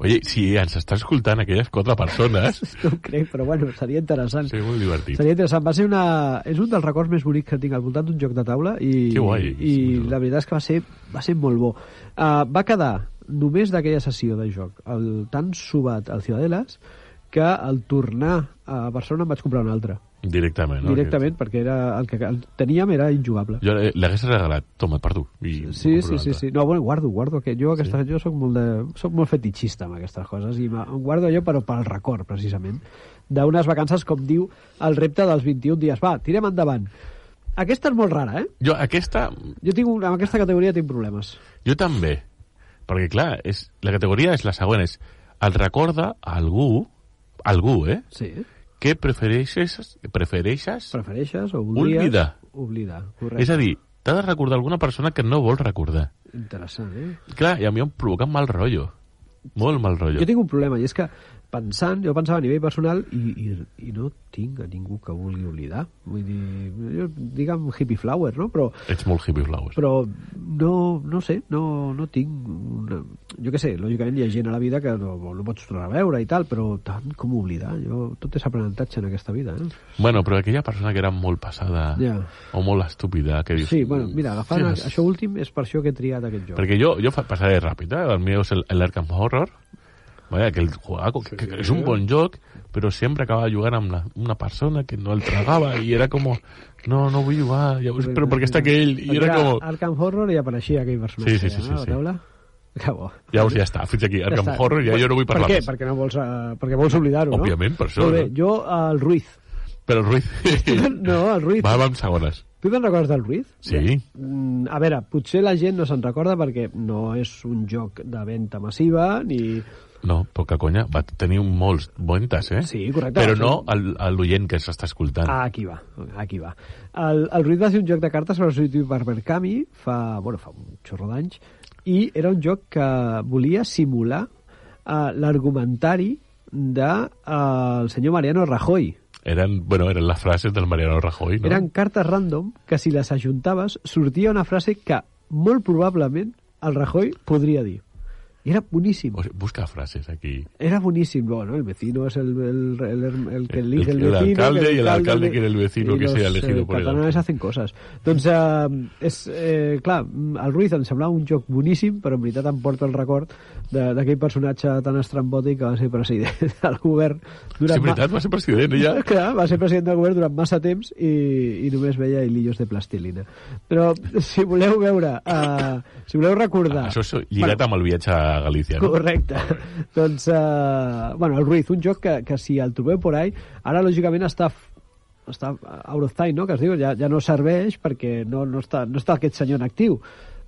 Oye, si ens està escoltant aquelles quatre persones,
No ho crec, però bueno, seria interessant.
seria molt divertit.
Seria interessant. Va ser una... És un dels records més bonics que tinc al voltant d'un joc de taula i,
Que guai.
i la veritat és que va ser, va ser molt bo. Uh, va quedar només d'aquella sessió de joc el tan subat al Ciudadelas que al tornar a Barcelona em vaig comprar un altre,
Directament, no?
directament, perquè era el que el teníem era injugable.
Jo eh, l'hagués regalat, toma, per tu. I
Sí,
compro
sí, sí,
l'altre.
sí. No, bueno, guardo, guardo aquest. Jo, aquesta, eh? sí. jo soc molt, de, soc molt fetichista amb aquestes coses i me- em guardo allò però pel record, precisament, d'unes vacances, com diu el repte dels 21 dies. Va, tirem endavant. Aquesta és molt rara, eh?
Jo aquesta,
Jo tinc, un- amb aquesta categoria tinc problemes.
jo també, perquè clar, és, la categoria és la següent, és el recorda a algú, algú, eh,
Sí.
que prefereixes, prefereixes
Prefereixes o oblides?
Oblidar.
Oblidar, correcte.
és a dir, t'ha de recordar alguna persona que no vols recordar.
Interessant, eh?
Clar, i a mi em provoca mal rotllo. Molt mal rotllo.
Jo tinc un problema, i és que pensant, jo pensava a nivell personal i, i, i no tinc a ningú que vulgui oblidar. Vull dir, jo, digue'm hippie flower, no? Però
Ets molt hippie flowers.
però no, no sé, no, no tinc... Una... Jo què sé, lògicament hi ha gent a la vida que no, no pots tornar a veure i tal, però tant com oblidar, jo, tot és aprenentatge en aquesta vida, eh?
Bueno, però aquella persona que era molt passada
Ja.
o molt estúpida, que dius...
Sí, bueno, mira, agafant
"Hòsties".
sí, això últim és per això que he triat aquest joc.
Perquè jo, jo fa- passaré ràpid, eh? El meu és el, el Arkham Horror, Vaya, que el juego, que, que és un bon joc, però sempre acabava jugant amb la, una persona que no el tragava i era com, no, no vull jugar, ja, veus, però perquè està aquell, i era com...
Arkham Horror i apareixia aquell personatge.
Sí, sí, sí, sí,
eh, a la
sí.
taula. Que bo.
Llavors ja està, fins aquí, Arkham Horror, ja jo no vull parlar
per què?
més.
Perquè, no vols, eh, perquè vols oblidar-ho, no?
Òbviament, per això,
Molt bé,
no?
jo eh, el Ruiz.
Però el Ruiz...
No, el Ruiz.
Va, va amb segones.
Tu te'n recordes del Ruiz?
Sí.
Mm, a veure, potser la gent no se'n recorda perquè no és un joc de venda massiva ni...
No, poca conya, va tenir molts bonites, eh?
Sí, correcte.
Però
Sí.
no al- a l'oient que s'està escoltant.
Ah, aquí va, aquí va. El, el Ruiz va ser un joc de cartes sobre substituir per Berkami fa, bueno, fa un xorro d'anys i era un joc que volia simular uh, l'argumentari del uh, el senyor Mariano Rajoy.
Eren, bueno, eren les frases del Mariano Rajoy, no?
Eren cartes random que si les ajuntaves sortia una frase que molt probablement el Rajoy podria dir. I era boníssim.
O sigui, busca frases aquí.
Era buenísimo, bueno, el vecino es el, el, el, el que
El-
elige el,
el
vecino.
alcalde
que
y el alcalde
que
quiere el vecino
y
que sea
los,
elegido
eh,
por el
catalanes
alcalde.
hacen cosas. Doncs, eh, és, eh, clar, el Ruiz em semblava un joc boníssim, però en veritat em porta el record de- d'aquell personatge tan estrambòtic que va ser president del govern
Sí,
durant...
en veritat, va ser president,
ma...
ella.
Clar, va ser president del govern durant massa temps i, i només veia hilillos de plastilina. Però si voleu veure, eh, si voleu recordar...
Ah, Això és lligat amb el viatge a Galícia, no?
Correcte. doncs, uh, bueno, el Ruiz, un joc que, que si el trobeu por ahí, ara lògicament està f- està out of time, no?, que es diu, ja, ja no serveix perquè no, no, està, no està aquest senyor en actiu.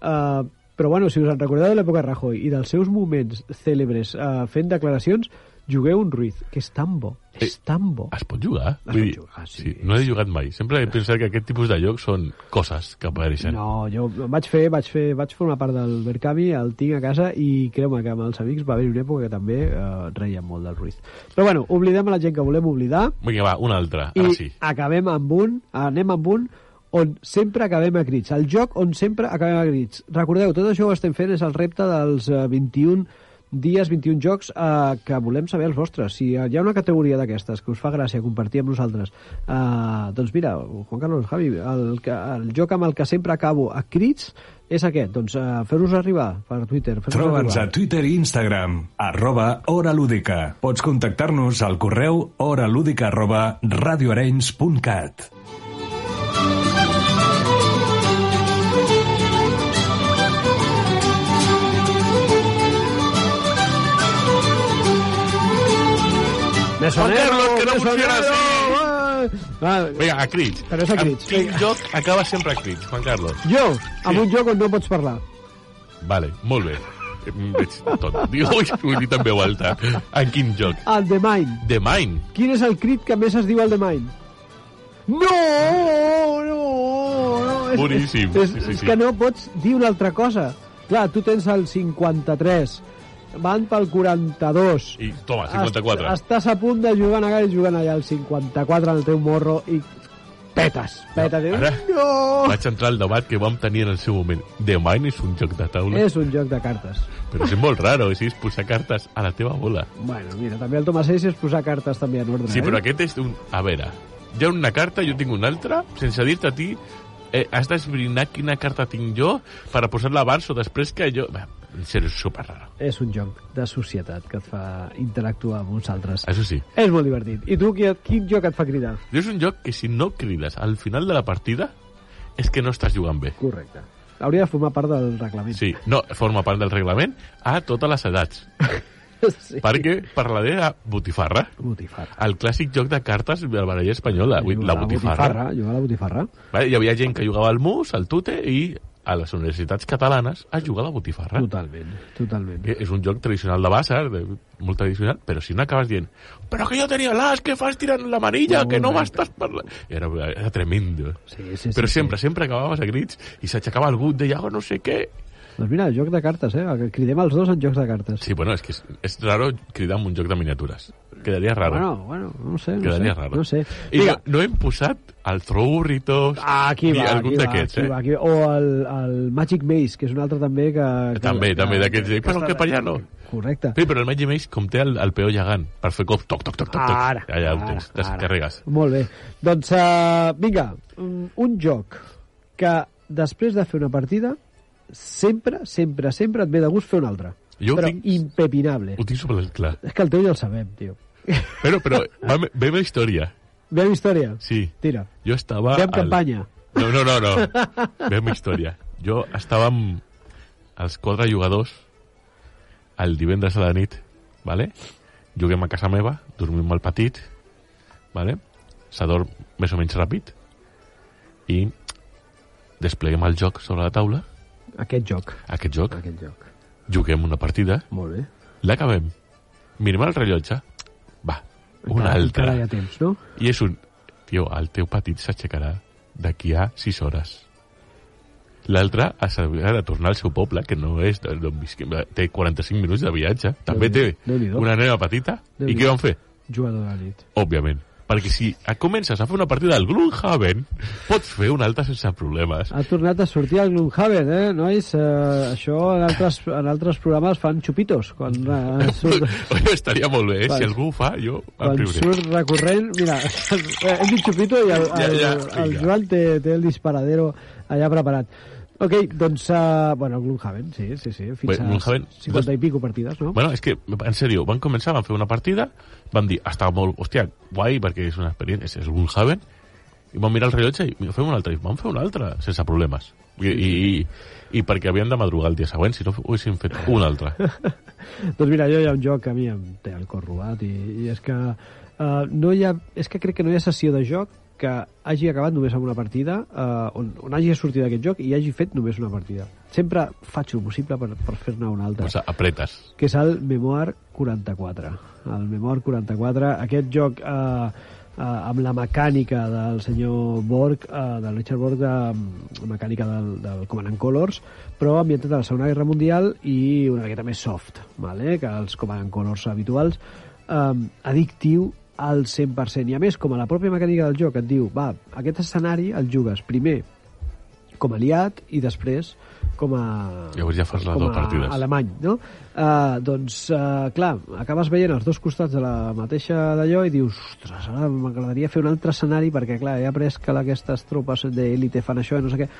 Uh, però, bueno, si us en recordeu de l'època de Rajoy i dels seus moments cèlebres uh, fent declaracions, jugueu un Ruiz, que és tan bo, és tan bo.
Es pot jugar?
Es pot jugar, sí.
No he jugat mai. Sempre he pensat que aquest tipus de llocs són coses que apareixen.
No, jo em vaig fer, vaig fer, vaig formar part del Berkami, el tinc a casa i creu-me que amb els amics va haver una època que també eh, reien molt del Ruiz. Però bueno, oblidem a la gent que volem oblidar
Vinga, va, un altre.
i
Ara sí.
acabem amb un, anem amb un on sempre acabem a crits, el joc on sempre acabem a crits. Recordeu, tot això ho estem fent és el repte dels eh, 21 dies, 21 jocs eh, que volem saber els vostres. Si eh, hi ha una categoria d'aquestes que us fa gràcia compartir amb nosaltres, eh, doncs mira, Juan Carlos, Javi, el, que- el joc amb el que sempre acabo a crits és aquest. Doncs eh, fer-nos arribar per Twitter. Fer-nos
Troba'ns
arribar.
a Twitter i Instagram, arroba Hora Lúdica. Pots contactar-nos al correu horalúdica arroba radioarenys.cat.
Mesonero,
Juan Carlos, que no
mesonero!
funciona
Ah,
Vinga, a crits.
Però és a
Amb
crits,
quin
vinga.
lloc acaba sempre a crits, Juan Carlos?
Jo, amb un joc on no pots parlar.
Vale, molt bé. Em Veig tot. Diu, ui, ho he dit en veu alta. En quin joc?
El The Mind.
The Mine.
Quin és el crit que més es diu al The Mind? No! No! no és,
Boníssim,
És,
sí, sí,
és
sí.
que no pots dir una altra cosa. Clar, tu tens el 53, van pel 42.
I toma, 54.
Est- Estàs a punt de jugar allà i jugant allà al 54 en el teu morro i petes, petes.
No,
No,
ara-
no!
Vaig entrar al debat que vam tenir en el seu moment. The Mine és un joc de taula,
És un joc de cartes.
però és molt raro, és dir, posar cartes a la teva bola.
Bueno, mira, també el Tomàs Ells és posar cartes també en ordre.
Sí, però
eh?
aquest és un... A veure, hi ha una carta, jo tinc una altra, sense dir-te a ti, eh, has d'esbrinar quina carta tinc jo per a posar-la abans o després que jo... Bé, en sèrio, és superraro.
És un joc de societat que et fa interactuar amb uns altres.
Això sí,
És molt divertit. I tu, qui, quin joc et fa cridar?
és un joc que si no crides al final de la partida és que no estàs jugant bé.
Correcte. Hauria de formar part del reglament.
Sí, no, forma part del reglament a totes les edats.
sí.
Perquè parlaré de botifarra.
Botifarra.
El clàssic joc de cartes de la baralla espanyola, vull dir, la botifarra.
botifarra. Jugar a la botifarra.
Vale? Hi havia gent que jugava al mus, al tute, i a les universitats catalanes a jugar a la botifarra.
Totalment, totalment.
Que és un joc tradicional de Bàsar, de, molt tradicional, però si no acabes dient però que jo tenia l'as, que fas tirant la manilla, que no m'estàs parlant... Era, era tremendo.
Sí, sí, sí,
però
sí.
sempre, sempre acabaves a grits i s'aixecava algú, deia oh, no sé què...
Doncs mira, joc de cartes, eh? Que Cridem els dos en jocs de cartes.
Sí, bueno, és que és, és raro cridar en un joc de miniatures. Quedaria raro.
Bueno, bueno, no ho sé. No
Quedaria
sé,
raro.
No ho sé.
I
Vinga,
no, no hem posat el Troburritos
Ah, aquí
ni
va,
algun
aquí va,
d'aquests,
aquí
eh?
va, aquí va. O el, el Magic Maze, que és un altre també que... que
També,
que,
també, d'aquests, eh? Però que per allà no.
Correcte.
Sí, però el Magic Maze, com té el, el peó gegant, per fer cops, toc, toc, toc, toc, toc.
Ara,
ja, ja ho
ara,
tens,
ara.
descarregues.
Molt bé. Doncs, uh, vinga, mm, un joc que després de fer una partida sempre, sempre, sempre et ve de gust fer una altra.
Jo ho
però
tinc-
impepinable.
Ho tinc sobre el clar.
És que el teu ja el sabem, tio.
Però, però, va, ve la història.
Vem història?
Sí. Ah,
Tira.
Jo estava...
Fem campanya.
No, no, no, no. Vem història. Jo estava amb els quatre jugadors el divendres a la nit, vale? Juguem a casa meva, dormim molt petit, vale? S'adorm més o menys ràpid i despleguem el joc sobre la taula,
Aquest joc.
aquest joc,
Aquest joc.
juguem una partida,
Molt bé.
l'acabem, mirem el rellotge, va, una
Encara-
altra.
Encara hi ha temps, no?
I és un... Tio, el teu petit s'aixecarà d'aquí a 6 hores. L'altre s'haurà de tornar al seu poble, que no és d'on visquem. Té 45 minuts de viatge. També té
Déu-n'hi-do, Déu-n'hi-do.
una nena petita. I
Déu-n'hi-do.
què van fer?
Jugador de nit.
Òbviament. Perquè si comences a fer una partida al Gloomhaven, pots fer una altra sense problemes.
Ha tornat a sortir al Gloomhaven, eh, nois? Eh, això en altres, en altres programes fan xupitos. Quan, eh, surt,
Oi, estaria molt bé, eh? Si algú ho fa, jo em
quan
riuré.
surt recorrent... Mira, eh, hem dit xupito i el, el,
Ja, ja,
el, el
vinga.
Joan té, té el disparadero allà preparat. Ok, doncs... Uh, bueno, Gloomhaven, sí, sí, sí. Fins
Bé,
a
Gloomhaven, doncs-
50 i pico partides, no?
Bueno, és que, en sèrio, van començar, van fer una partida, van dir, està molt, hòstia, guai, perquè és una experiència, és un haven, i van mirar el rellotge i mira, fem una altra, i van fer una altra, sense problemes. I, i, i, i perquè havien de madrugar el dia següent, si no ho haguessin fet una altra.
Doncs mira, jo hi ha un joc que a mi em té el cor robat i, i és que uh, no hi ha, és que crec que no hi ha sessió de joc que hagi acabat només amb una partida uh, on, on hagi sortit d'aquest joc i hagi fet només una partida. Sempre faig el possible per, per fer-ne una altra
Pues apretes.
que és el Memoir 44. El Memoir 44, aquest joc eh, eh, amb la mecànica del senyor Borg, eh, del Richard Borg, de, mecànica del, del Command and Colors, però ambientat a la Segona Guerra Mundial i una miqueta més soft, vale? que els Command and Colors habituals, eh, addictiu al 100%. I a més, com a la pròpia mecànica del joc et diu, va, aquest escenari el jugues primer com a aliat i després com a...
Llavors ja fas les
com a
dues partides.
Alemany, no? Uh, doncs, uh, clar, acabes veient els dos costats de la mateixa d'allò i dius, ostres, ara m'agradaria fer un altre escenari perquè, clar, he après que aquestes tropes d'élite fan això i no sé què.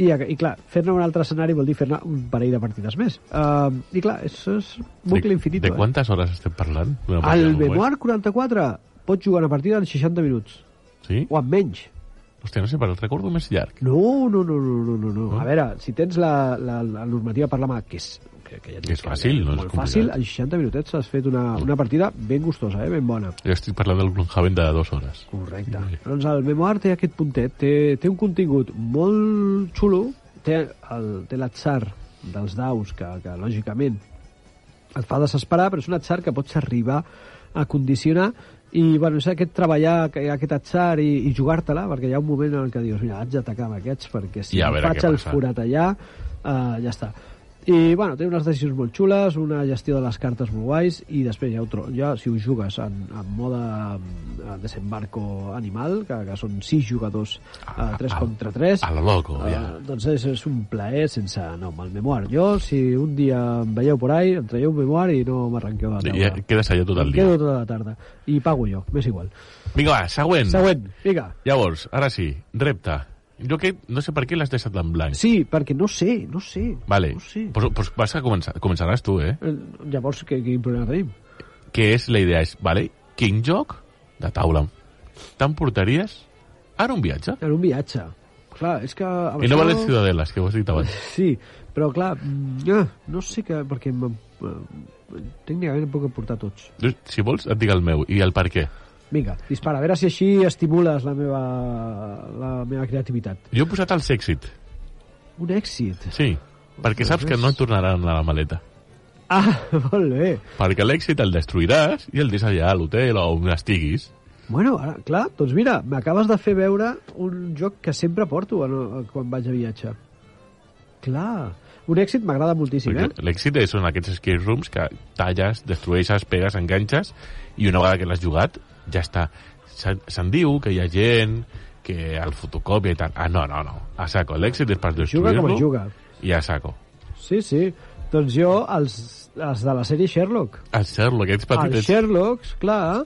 I, i clar, fer-ne un altre escenari vol dir fer-ne un parell de partides més. Uh, I clar, és, és bucle eh?
de,
infinit.
De quantes hores estem parlant?
Eh?
Una partida
El
molt guai.
Memoir 44 pot jugar una partida en 60 minuts,
Sí?
o en menys.
Hòstia, no sé, però el recordo més llarg.
No, no, no, no, no, no, no. A veure, si tens la, la, la normativa per la mà, que és que, que ja et
Que és
dic
fàcil, no és
molt
complicat.
fàcil, en 60 minutets has fet una, una partida ben gustosa, eh? ben bona.
Jo estic parlant del Gloomhaven de dues hores.
Correcte. Doncs el memoir té aquest puntet, té, té un contingut molt xulo, té, el, té l'atzar dels daus, que, que lògicament et fa desesperar, però és un atzar que pots arribar a condicionar i bueno, és aquest treballar, que- aquest atzar i, i jugar-te-la, perquè hi ha un moment en què dius, mira, haig d'atacar amb aquests, perquè si
I a
em
veure
faig
què
el
passa."
forat allà, eh, ja està. I, bueno, té unes decisions molt xules, una gestió de les cartes molt guais, i després ja, ho tro- ja si ho jugues en, en mode eh, desembarco animal, que, que són sis jugadors, eh,
Ah,
3
ah,
contra 3,
a lo loco,
eh,
ja.
doncs és, és un plaer sense nom al memoir. Jo, si un dia em veieu por ahí, em traieu un memoir i no m'arranqueu de la
I ja
taula.
quedes allà tot el
Em
dia.
quedo tota la tarda. I pago jo, m'és igual.
Vinga, va, següent.
Següent, vinga.
Llavors, ara sí, repte. Jo que no sé per què l'has deixat en blanc.
Sí, perquè no sé, no sé.
Vale,
No sé.
pues, pues vas a començar, començaràs tu, eh?
Eh, Llavors, què, quin problema tenim?
Que és la idea, és, vale, quin joc de taula t'emportaries ara un viatge?
En un viatge. Clar, és que... amb
I no
això-
valen ciudadeles, que ho has dit abans.
Sí, però clar, mm, ah, no sé que... Perquè em- eh, tècnicament em puc emportar tots.
Jo, Si vols, et dic el meu i el per què.
Vinga, dispara, a veure si així estimules la meva, la meva creativitat.
Jo he posat el sèxit,
Un èxit.
sí, perquè saps que no et tornaran a la maleta.
Ah, molt bé.
Perquè l'èxit el destruiràs i el deixes allà a l'hotel o on estiguis.
Bueno, ara, clar, doncs mira, m'acabes de fer veure un joc que sempre porto en- quan vaig a viatge. Clar, un èxit m'agrada moltíssim, eh?
Perquè L'èxit és- són aquests escape rooms que talles, destrueixes, pegues, enganxes i una vegada que l'has jugat ja està. Se- Se'n diu que hi ha gent que el fotocopia i tal. Ah, no, no, no. A saco. L'èxit és per
Juga com
destruir-lo
es juga.
i a saco.
Sí, sí. Doncs jo, els, els de la sèrie Sherlock.
El Sherlock, aquests petits...
Els Sherlocks, clar,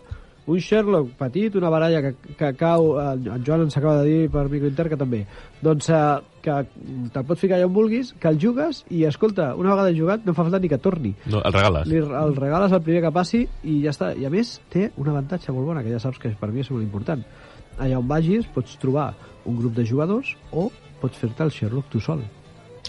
un Sherlock petit, una baralla que, que cau, eh, en Joan ens acaba de dir per microinter que també, doncs eh, que te'l pots ficar allà on vulguis, que el jugues i, escolta, una vegada jugat no fa falta ni que torni.
No, el regales.
Li, el regales al primer que passi i ja està. I a més té un avantatge molt bona, que ja saps que per mi és molt important. Allà on vagis pots trobar un grup de jugadors o pots fer-te el Sherlock tu sol.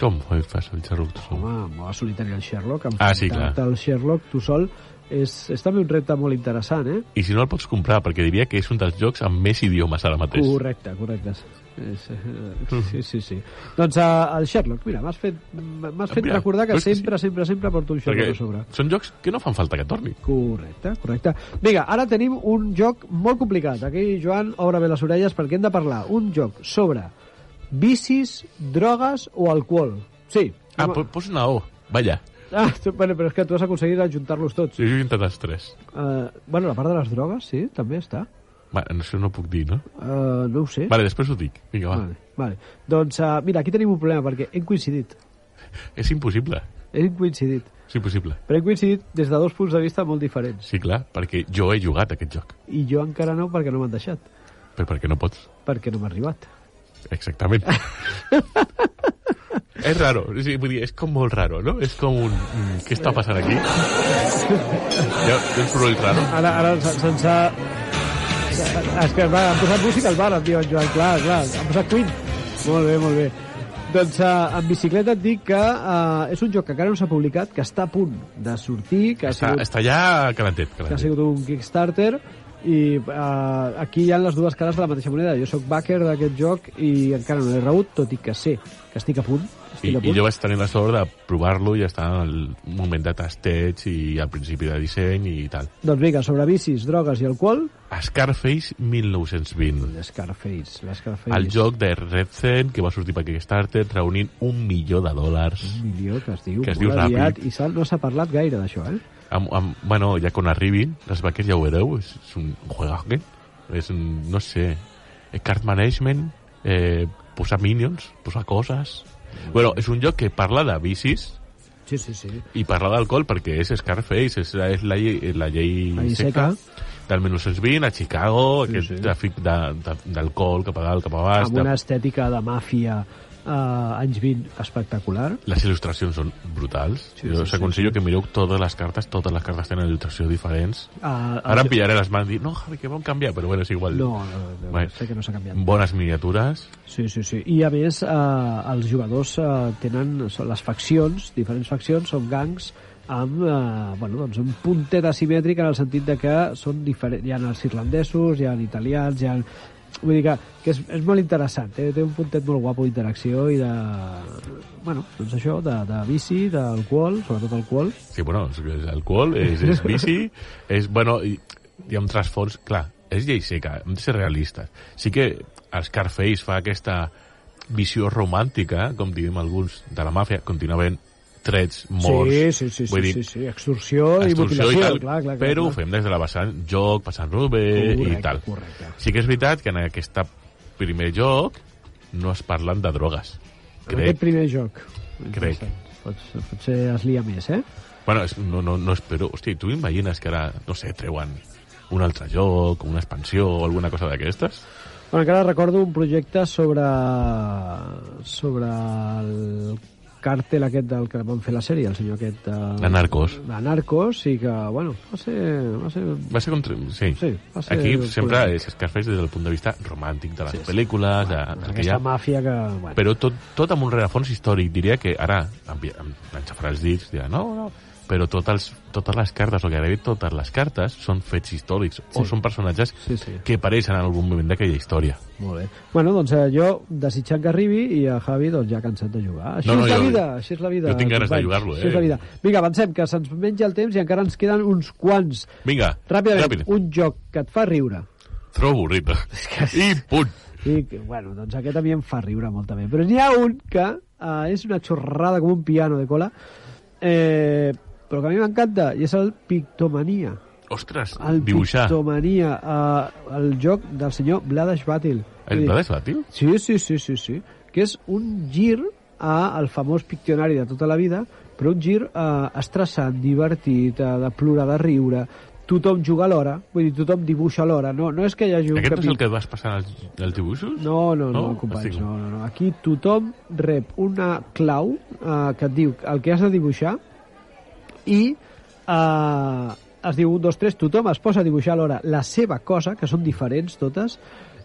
Com ho fas el Sherlock? Tu? sol?
Home, molt solitari el Sherlock.
Oh. Ah, sí, clar.
enfrontar-te al Sherlock tu sol és, és també un repte molt interessant, eh?
I si no el pots comprar, perquè diria que és un dels jocs amb més idiomes ara mateix.
Correcte, correcte. És,
Mm.
eh, Sí, sí, sí. Doncs eh, el Sherlock, mira, m'has fet, m'has fet
Mira,
recordar que
però és que
sempre, sempre, sempre porto un Sherlock
Perquè
a sobre.
són jocs que no fan falta que torni.
Correcte, correcte. Vinga, ara tenim un joc molt complicat. Aquí, Joan, obre bé les orelles perquè hem de parlar. Un joc sobre bicis, drogues o alcohol. Sí.
Ah,
Home.
po- posa una O. Vaya.
ah tu- bueno, però és que tu has aconseguit ajuntar-los tots.
Jo he intentat els tres.
Uh, bueno, la part de les drogues, sí, també està.
Va, no sé, no puc dir, no?
Uh, no ho sé.
Vale, després ho dic. Vinga, va.
Vale, vale. Doncs, uh, mira, aquí tenim un problema, perquè hem coincidit.
És impossible.
Hem coincidit.
És impossible.
Però hem coincidit des de dos punts de vista molt diferents.
Sí, clar, perquè jo he jugat aquest joc.
I jo encara no, perquè no m'han deixat.
Però perquè no pots.
Perquè no m'ha arribat.
Exactament. és raro. O sigui, vull dir, és com molt raro, no? És com un... mm, Què està passant aquí? Hi ha, hi ha un soroll raro.
Ara, ara se- se'ns ha... És que va, han posat música al bar, em diuen, Joan, clar, clar. Han posat Queen. Molt bé, molt bé. Doncs uh, en bicicleta et dic que uh, és un joc que encara no s'ha publicat, que està a punt de sortir, que ha
Està,
sigut
està ja calentet,
que ha
calentet.
sigut un Kickstarter i eh, aquí hi ha les dues cares de la mateixa moneda. Jo sóc backer d'aquest joc i encara no l'he rebut, tot i que sé que estic a punt.
I,
Estic a
I
punt.
jo vaig tenir la sort de provar-lo i estar en el moment de tasteig i al principi de disseny i tal.
Doncs vinga, sobre bicis, drogues i alcohol,
Scarface 1920.
l'Scarface. l'Scarface.
El joc de Red Zen que va sortir per Kickstarter reunint un milió de dòlars.
Un milió que es diu,
Que es
molt
diu
aviat,
ràpid.
i sal, no s'ha parlat gaire d'això, eh?
Amb, amb, bueno, ja quan arribin, les vaques ja ho veureu, és, és un juegaque, és un, no sé, eh, card management, eh, posar minions, posar coses... Bueno, és un joc que parla de bicis
Sí, sí, sí.
i parla d'alcohol perquè és Scarface, és, la- és la, llei, eh, la
La
llei
llei
seca
seca.
del 1920 a Chicago,
Sí,
aquest
sí.
tràfic de- de- d'alcohol cap a dalt, cap a baix...
Amb
de-
una estètica de màfia eh, anys 20 espectacular.
les il·lustracions són brutals.
Sí,
jo
sí,
us
sí,
aconsello que mireu totes les cartes, totes les cartes tenen il·lustració diferents.
Eh,
Ara em pillaré les mans i dir, no, Javi, que vam canviar, però bueno, és igual.
No, no, no,
Bé.
no sé que no s'ha canviat.
Bones miniatures.
Sí, sí, sí. I a més, eh, els jugadors eh, tenen són les faccions, diferents faccions, són gangs amb eh, bueno, doncs un puntet asimètric en el sentit de que són diferents. Hi ha els irlandesos, hi ha italians, hi ha... Vull dir que, que és, és molt interessant, eh? té, té un puntet molt guapo d'interacció i de... Bueno, doncs això, de, de bici, d'alcohol, sobretot alcohol.
Sí, bueno, és, és alcohol, és, és bici, és, bueno, i, hi ha un trasfons, clar, és llei seca, hem de ser realistes. Sí que el Scarface fa aquesta visió romàntica, com diem alguns, de la màfia, continua havent trets, morts...
sí, sí, sí,
vull
sí,
dir,
sí, sí, extorsió, i
extorsió
mutilació,
i tal,
clar, clar, clar,
però ho
clar.
fem des de la vessant joc, passant-lo bé i
Correcte,
tal.
correcte.
Sí que és veritat que en aquest primer joc no es parlen de drogues.
En aquest
Crec.
primer joc.
Crec.
Pots, potser es lia més, eh?
Bueno, és, no, no, no espero... Hosti, tu imagines que ara, no sé, treuen un altre joc, una expansió o alguna cosa d'aquestes?
Bueno, encara recordo un projecte sobre sobre el càrtel aquest del que van fer la sèrie, el senyor aquest... Eh,
De Narcos.
De Narcos, i que, bueno, va ser... Va ser
Va ser contra... Sí.
Sí, va ser
Aquí sempre
polèmic.
és Scarface des del punt de vista romàntic de les sí, pel·lícules, de, del que hi
aquesta
ha...
màfia que... Bueno,
Però tot, tot amb un redafons històric. Diria que ara em, em, enxafarà els dits, dirà, no, no, però tot els, totes les cartes, o gairebé totes les cartes, són fets històrics, sí. o són personatges
Sí, sí.
que apareixen en algun moment d'aquella història.
Molt bé. Bueno, doncs eh, jo desitjant que arribi i a Javi doncs, ja cansat de jugar. Així
No, no,
és la
jo-
vida, així és la vida.
jo tinc ganes de
companys.
jugar-lo,
Així és la
eh?
vida. Vinga, avancem, que se'ns menja el temps i encara ens queden uns quants.
Vinga,
Ràpidament,
ràpid.
un joc que et fa riure.
Trobo horrible. I punt.
I, que, bueno, doncs aquest a mi em fa riure molt també. Però n'hi ha un que uh, és una xorrada com un piano de cola, eh, però que a mi m'encanta, i és el Pictomania.
Ostres,
El
dibuixar.
Pictomania, uh, el joc del senyor Blades Batil.
El Blades Batil?
Sí, sí, sí, sí, sí. Que és un gir a- al famós piccionari de tota la vida, però un gir eh, estressat, divertit, eh, de plorar, de riure. Tothom juga alhora, vull dir, tothom dibuixa alhora. No, no és que hi hagi un
Aquest no és
capítol-
el que vas passant als, als dibuixos?
no, no, no,
No?
no companys,
Estic-
no, no, no. Aquí tothom rep una clau eh, que et diu el que has de dibuixar i eh, es diu 1, 2, 3, tothom es posa a dibuixar alhora la seva cosa, que són diferents totes,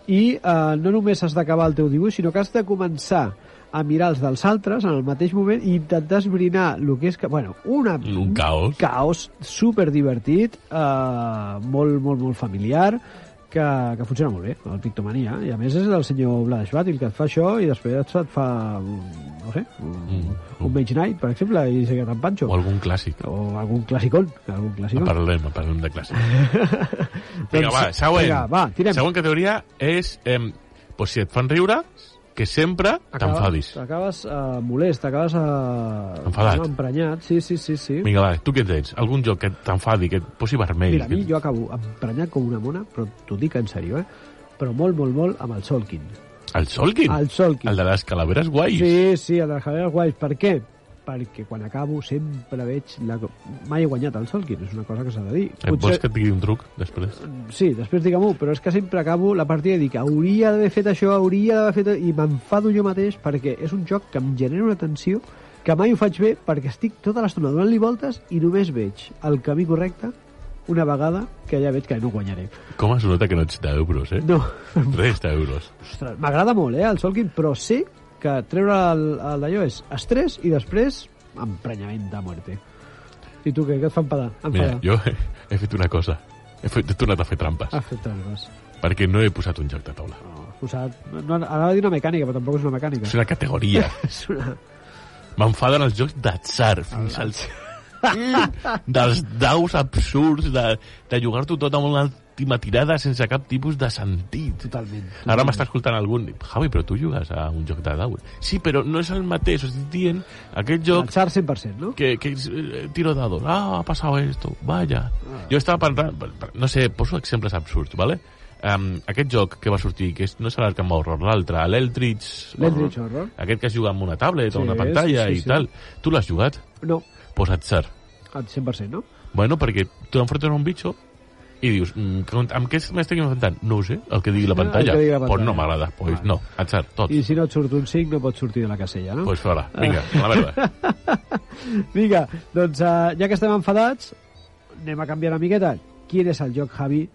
i eh, no només has d'acabar el teu dibuix, sinó que has de començar a mirar els dels altres en el mateix moment i intentar esbrinar el que és... Que, bueno, una,
Un caos.
caos super divertit, eh, molt, molt, molt familiar, que, que funciona molt bé, el Pictomania. I a més és el senyor Blades Batil que et fa això i després et fa, un- no sé, un, mm. un Mage Knight, per exemple, i se queda tan panxo.
O algun clàssic.
O algun classicón, algun
En
classicón.
parlem, en parlem de classe. Vinga, va, següent.
Doncs, Vinga, va, tirem.
Següent categoria és... Eh, pues si et fan riure, que sempre t'enfadis.
Acabes eh, molest, acabes eh,
Enfadat.
emprenyat. Sí, sí, sí, sí.
Vinga, va, tu què tens? Algun joc que t'enfadi, que et posi vermell?
Mira, a mi jo acabo emprenyat com una mona, però t'ho dic en sèrio, eh? Però molt, molt, molt amb el Solkin.
El Solkin?
El Solkin.
El de les calaveres guais?
Sí, sí, el de Javier Guais. Per què? Perquè quan acabo sempre veig... La... Mai he guanyat el Solkin, és una cosa que s'ha de dir.
Et Eh, vols que et digui un truc, després?
Sí, després diguem-ho, però és que sempre acabo la partida i dic hauria d'haver fet això, hauria d'haver fet... I m'enfado jo mateix perquè és un joc que em genera una tensió que mai ho faig bé perquè estic tota l'estona donant-li voltes i només veig el camí correcte una vegada que ja veig que no guanyaré.
Com es nota que no ets d'euros, eh?
No,
Res d'euros.
Ostres, m'agrada molt, eh, el Solkin, però sé que treure el- el d'allò és estrès i després emprenyament de muerte. I tu què, què et fa enfadar?
Mira,
enfadar.
jo he, he fet una cosa. He, fet, he tornat a fer trampes.
Has fet trampes.
Perquè no he posat un joc de taula.
No, has posat... No, anava a dir una mecànica, però tampoc és una mecànica.
És una categoria.
És una...
M'enfaden els jocs d'atzar
Ah.
fins als... dels daus absurds de, de jugar-t'ho tot amb una última tirada sense cap tipus de sentit.
Totalment.
Ara m'està escoltant algun... Javi, però tu jugues a un joc de daus. Sí, però no és el mateix. O sigui, dient aquest joc
Atzar 100%, no?
que, que es- eh, tiro dados. Ah, ha pasado esto. Vaya.
Ah.
Jo estava parlant... per- per- No sé, poso exemples absurds, ¿vale? Um, aquest joc que va sortir, que és, no és l'Arkham Horror, l'altre, l'Eldritch...
L'Eldritch Horror.
Aquest que es juga amb una tablet
Sí,
o una pantalla
sí,
i
sí.
tal. Tu l'has jugat?
No,
Pues atzar.
al 100%, no?
Bueno, perquè tu enfrontes a un bitxo i dius, mm, com- amb què m'estic enfrontant? No ho sé, el que digui la
El que
pantalla.
digui la
Pues
pantalla.
no m'agrada, pues
Vale.
no, atzar, tot.
I si no et surt un 5, no pots sortir de la casella, no?
Pues fora, vinga, a la merda.
Vinga, doncs uh, ja que estem enfadats, anem a canviar una miqueta. Quin és el joc, Javi,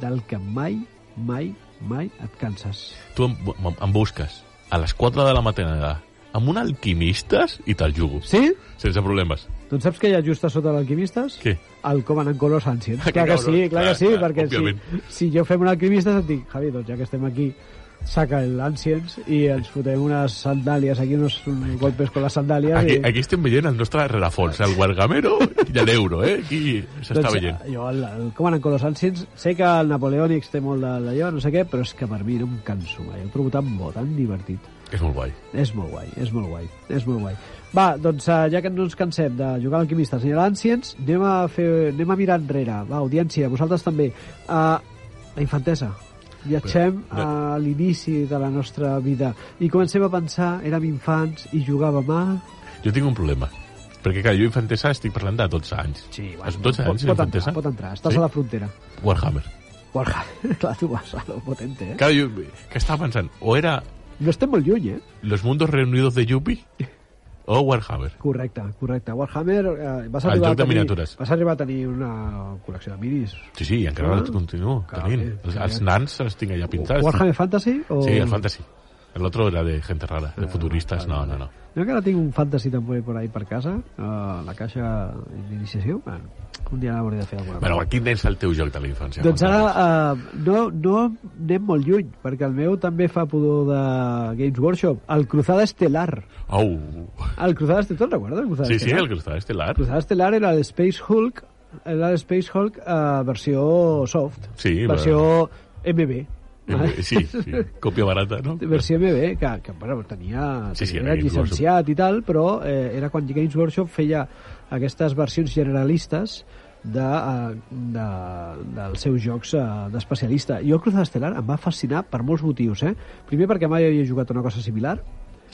del que mai, mai, mai et canses?
tu em, em, em busques a les 4 de la matinada amb un alquimistes i te'l jugo.
Sí?
Sense problemes.
Doncs saps que hi ha just a sota d'alquimistes?
Què? Ah,
El Covenant Colors Ancients.
Que
Clar que
cabrons.
sí, clar que
Clar,
sí,
clar,
perquè si,
òbviament.
si jo fem un alquimistes et dic, Javi, doncs ja que estem aquí saca el Ancients i ens fotem unes sandàlies, aquí uns golpes con les sandàlies.
Aquí,
i...
aquí estem veient el nostre rerefons, el Guargamero i l'Euro, eh? Aquí
Doncs
s'està veient.
Jo, el, el, com anen con los Ancients, sé que el Napoleònic té molt de- d'allò, no sé què, però és que per mi no em canso mai. eh? Ho trobo tan bo, tan divertit.
És molt guai.
És molt guai, és molt guai, és molt guai. Va, doncs eh, ja que no ens cansem de jugar a alquimistes ni a l'Ancients, anem, a fer, anem a mirar enrere. Va, audiència, vosaltres també. Uh, la infantesa. Viatgem
Però,
a l'inici de la nostra vida i comencem a pensar, érem infants i jugàvem a...
Jo tinc un problema. Perquè, clar, jo infantesa estic parlant de 12 anys. Als 12 anys,
pot, pot
infantesa?
entrar, pot entrar, estàs
Sí?
a la frontera.
Warhammer.
Borja, clar, tu vas a lo potente, eh?
Clar, jo, que estava pensant, o era
No estem molt lluny, eh?
Los Mundos Reunidos de Yuppie o Warhammer.
Correcte, correcte. Warhammer, eh, vas
El
arribar
joc de
a tenir,
miniatures.
Vas arribar a tenir una col·lecció de minis
Sí, sí, encara
Ah.
el continuo
Clar,
tenint.
eh,
Els,
clar.
els nans els tinc allà pintats.
Warhammer Fantasy? O... Ah,
Sí, el fantasy. El otro era de gente rara, de futuristas. No, no, no.
Jo encara tinc un Fantasy també per ahí per casa, a la caixa d'iniciació. Bueno, un dia l'hauré de fer alguna
Bueno, quin és el teu joc de la infància?
Doncs
Juan
ara
Carlos?
uh, no, no anem molt lluny, perquè el meu també fa pudor de Games Workshop. El Cruzada Estelar.
Au!
El Cruzada Estelar, te'n recordes? El Cruzada
Sí, sí,
Estelar?
el que estava estelar.
El Cruzada Estelar era el Space Hulk, era el Space Hulk eh, versió soft,
Sí,
versió MB.
Eh, Sí, sí, còpia barata, no?
versió MB, que, que bueno, tenia,
Sí, sí,
era
era Games
llicenciat i tal, però eh, era quan Games Workshop feia aquestes versions generalistes de, eh, de, dels seus jocs eh, d'especialista. Jo el Cruzada Estelar em va fascinar per molts motius. Eh? Primer perquè mai havia jugat a una cosa similar.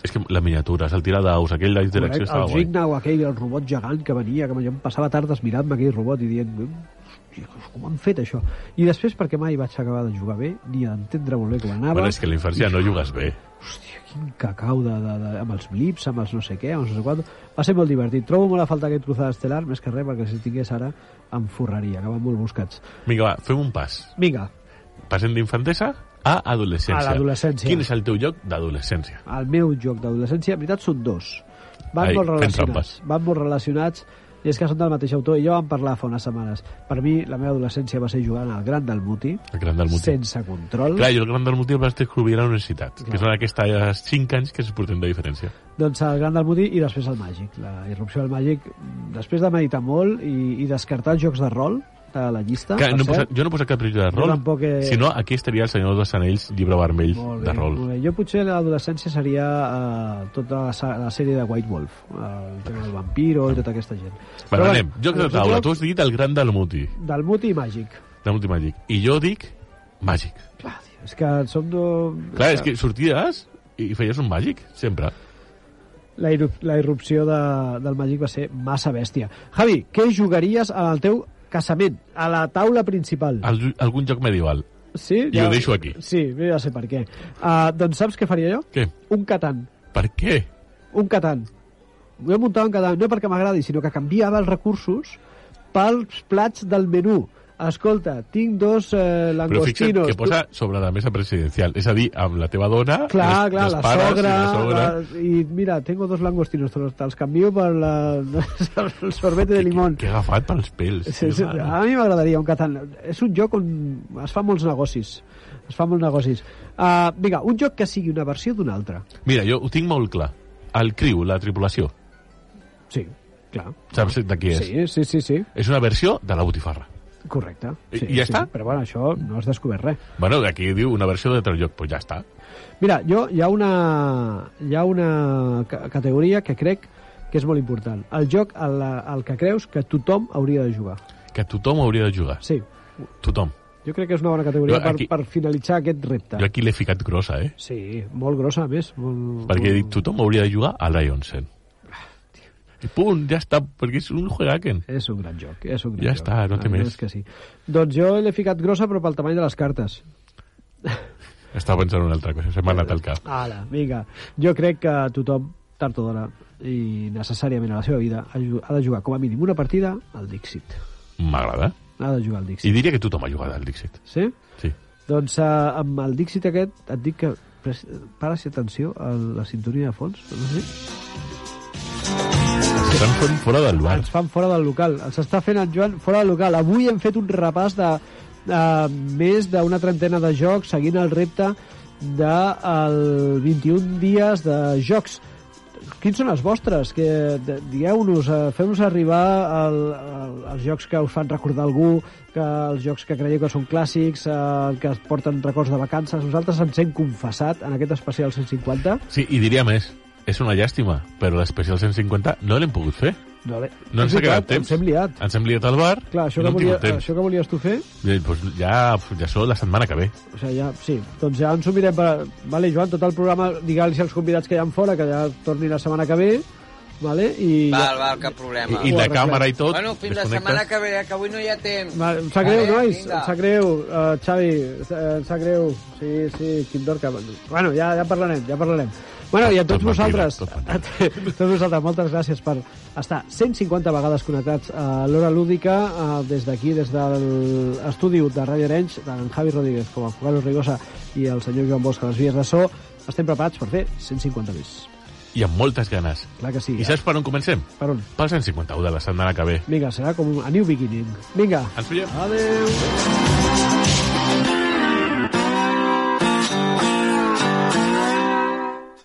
És que la miniatura, és el tiradaus, aquell de
Correcte,
direcció estava
el
guai.
Gigna o aquell, el robot gegant que venia, que jo em passava tardes mirant aquell robot i dient "Hòstia, com han fet això? I després perquè mai vaig acabar de jugar bé ni d'entendre molt bé com anava.
Bueno, és que a la infància no jugues bé.
Hòstia, quin cacau de, de, de, amb els blips, amb els no sé què, amb els no sé quant. Va ser molt divertit. Trobo molt a falta aquest cruzada estel·lar, més que res, perquè si el tingués ara em forraria, acaben molt buscats.
Vinga, va, fem un pas.
Vinga,
Passem d'infantesa a adolescència.
A l'adolescència.
Quin és el teu joc d'adolescència?
el meu joc d'adolescència, en veritat, són dos. Van
Ai,
molt
fent
relacionats.
trampes.
Van molt relacionats i és que són del mateix autor i ja vam parlar fa unes setmanes. Per mi, la meva adolescència va ser jugant al Gran del Muti,
El Gran del Muti.
sense control.
Clar, jo el Gran del Muti el vaig descobrir a la universitat, que són aquestes 5 anys que es porten de diferència.
Doncs el Gran del Mudi i després el Màgic. La irrupció del Màgic, després de meditar molt i, i descartar els jocs de rol de la llista.
Que
Ah, per
no he
cert.
posat, jo no he posat cap pel·lícula de
Jo
rol,
tampoc he-
si no, aquí estaria el Senyor dels Anells, llibre vermell
Molt bé,
de rol.
Molt bé. Jo potser a l'adolescència seria eh, tota la, sa- la sèrie de White Wolf, eh, el tema del vampiro i tota aquesta gent. Però
Bueno,
bé,
anem, joc de
el
taula.
joc
Tu has dit el Gran del Muti,
Del muti i màgic.
de Muti Màgic. I jo dic Màgic.
Clar, tio, és que som... Do...
Clar, és que sorties i feies un Màgic, sempre.
La, irru la irrupció de, del màgic va ser massa bèstia. Javi, què jugaries al teu casament, a la taula principal?
Al, algun joc medieval.
Sí?
Ah, I ho deixo aquí.
Sí, jo ja sé per què. Uh, doncs saps què faria jo?
Què?
Un Catan.
Per què?
Un Catan. Jo muntava un Catan, no perquè m'agradi, sinó que canviava els recursos pels plats del menú. Escolta, tinc dos eh,
Però fixa't
langostinos.
que posa sobre la mesa presidencial. És a dir, amb la teva dona,
Tu- Clar,
els,
clar,
els
la
pares
sogra,
i la sogra...
la- i mira, tengo dos langostinos, te los, te los canvio per la, el sorbete de limón.
Que, que agafat pels pèls.
Sí, sí, a mi m'agradaria un Catan. És un joc on es fa molts negocis. Es fa molts negocis. Uh, vinga, un joc que sigui una versió d'un altre.
Mira, jo ho tinc molt clar. El criu, la tripulació.
Sí, clar.
Saps de qui és?
Sí, sí, sí, sí.
És una versió de la botifarra.
Correcte.
I-
Sí,
i ja
sí.
està?
Però bueno, això no has descobert res.
Bueno, aquí diu una versió de tal lloc, pues ja està.
Mira, jo hi ha una, hi ha una ca- categoria que crec que és molt important. El joc al, al que creus que tothom hauria de jugar.
Que tothom hauria de jugar.
Sí,
Tothom.
jo crec que és una bona categoria
Jo
per,
aquí-
per finalitzar aquest repte.
Jo aquí l'he ficat grossa, eh?
Sí, molt grossa, a més. Molt,
Perquè he dit,
molt...
tothom hauria de jugar a Lionsen.
Ah,
I punt, ja està, perquè és un juegaken.
És un gran joc, és un gran
Ja
joc.
està, no té
La veritat
més.
és Que sí. Doncs jo l'he ficat grossa, però pel tamany de les cartes.
Estava pensant en una altra cosa, se m'ha anat al cap.
Ara, vinga. Jo crec que tothom, tard o d'hora, i necessàriament a la seva vida, ha ju- ha de jugar com a mínim una partida al Dixit.
M'agrada.
Ha de jugar al
I
Dixit.
diria que tothom ha jugat al Dixit.
Sí?
Sí.
Doncs eh, amb el Dixit aquest et dic que pres- pares i atenció a la sintonia de fons. No sé.
Estan fent fora del bar.
Ens fan fora del local. Ens està fent en Joan fora del local. Avui hem fet un repàs de eh, més d'una trentena de jocs seguint el repte del de el 21 dies de jocs. Quins són els vostres? Que de- Digueu-nos, eh, feu-nos arribar el, el, els jocs que us fan recordar algú, que els jocs que creieu que són clàssics, eh, que es porten records de vacances. Nosaltres ens hem confessat en aquest especial 150.
Sí, i diria més, és una llàstima, però l'especial 150 no l'hem pogut fer.
No, l'he-
No ens
És
ha quedat
veritat,
temps.
Ens hem liat.
Ens hem liat al bar.
Clar, això
i no
que,
hem
volia,
tingut temps.
això que volies tu fer,
Eh, Doncs ja, ja sou la setmana que ve.
o sigui, ja, sí, doncs ja ens ho mirem per... Vale, Joan, tot el programa, digue-los als convidats que hi ha fora, que ja tornin la setmana que ve, vale? I
Val, val, cap problema.
I, i
Ho
la
arreglem.
càmera i tot.
Bueno, fins la
desconnectes.
setmana que ve, que avui no hi ha temps.
Va, em sap greu,
Vale,
nois,
vinga.
em sap greu, uh, Xavi, eh, em sap greu, sí, sí, Quim Dorca. Bueno, ja, ja parlarem, ja parlarem. Bueno, i a tots
Tot mentida,
vosaltres,
tot
a tots vosaltres, moltes gràcies per estar 150 vegades connectats a l'hora lúdica eh, des d'aquí, des de l'estudi de Radio Arenys, d'en Javi Rodríguez, com a Carlos Rigosa i el senyor Joan Bosch a les vies de so. Estem preparats per fer 150 més.
I amb moltes ganes.
Clar que sí. eh?
I saps per on comencem?
Per on?
Pel 151 de la setmana que ve.
Vinga, serà com a new beginning. Vinga,
Ens veiem.
adeu.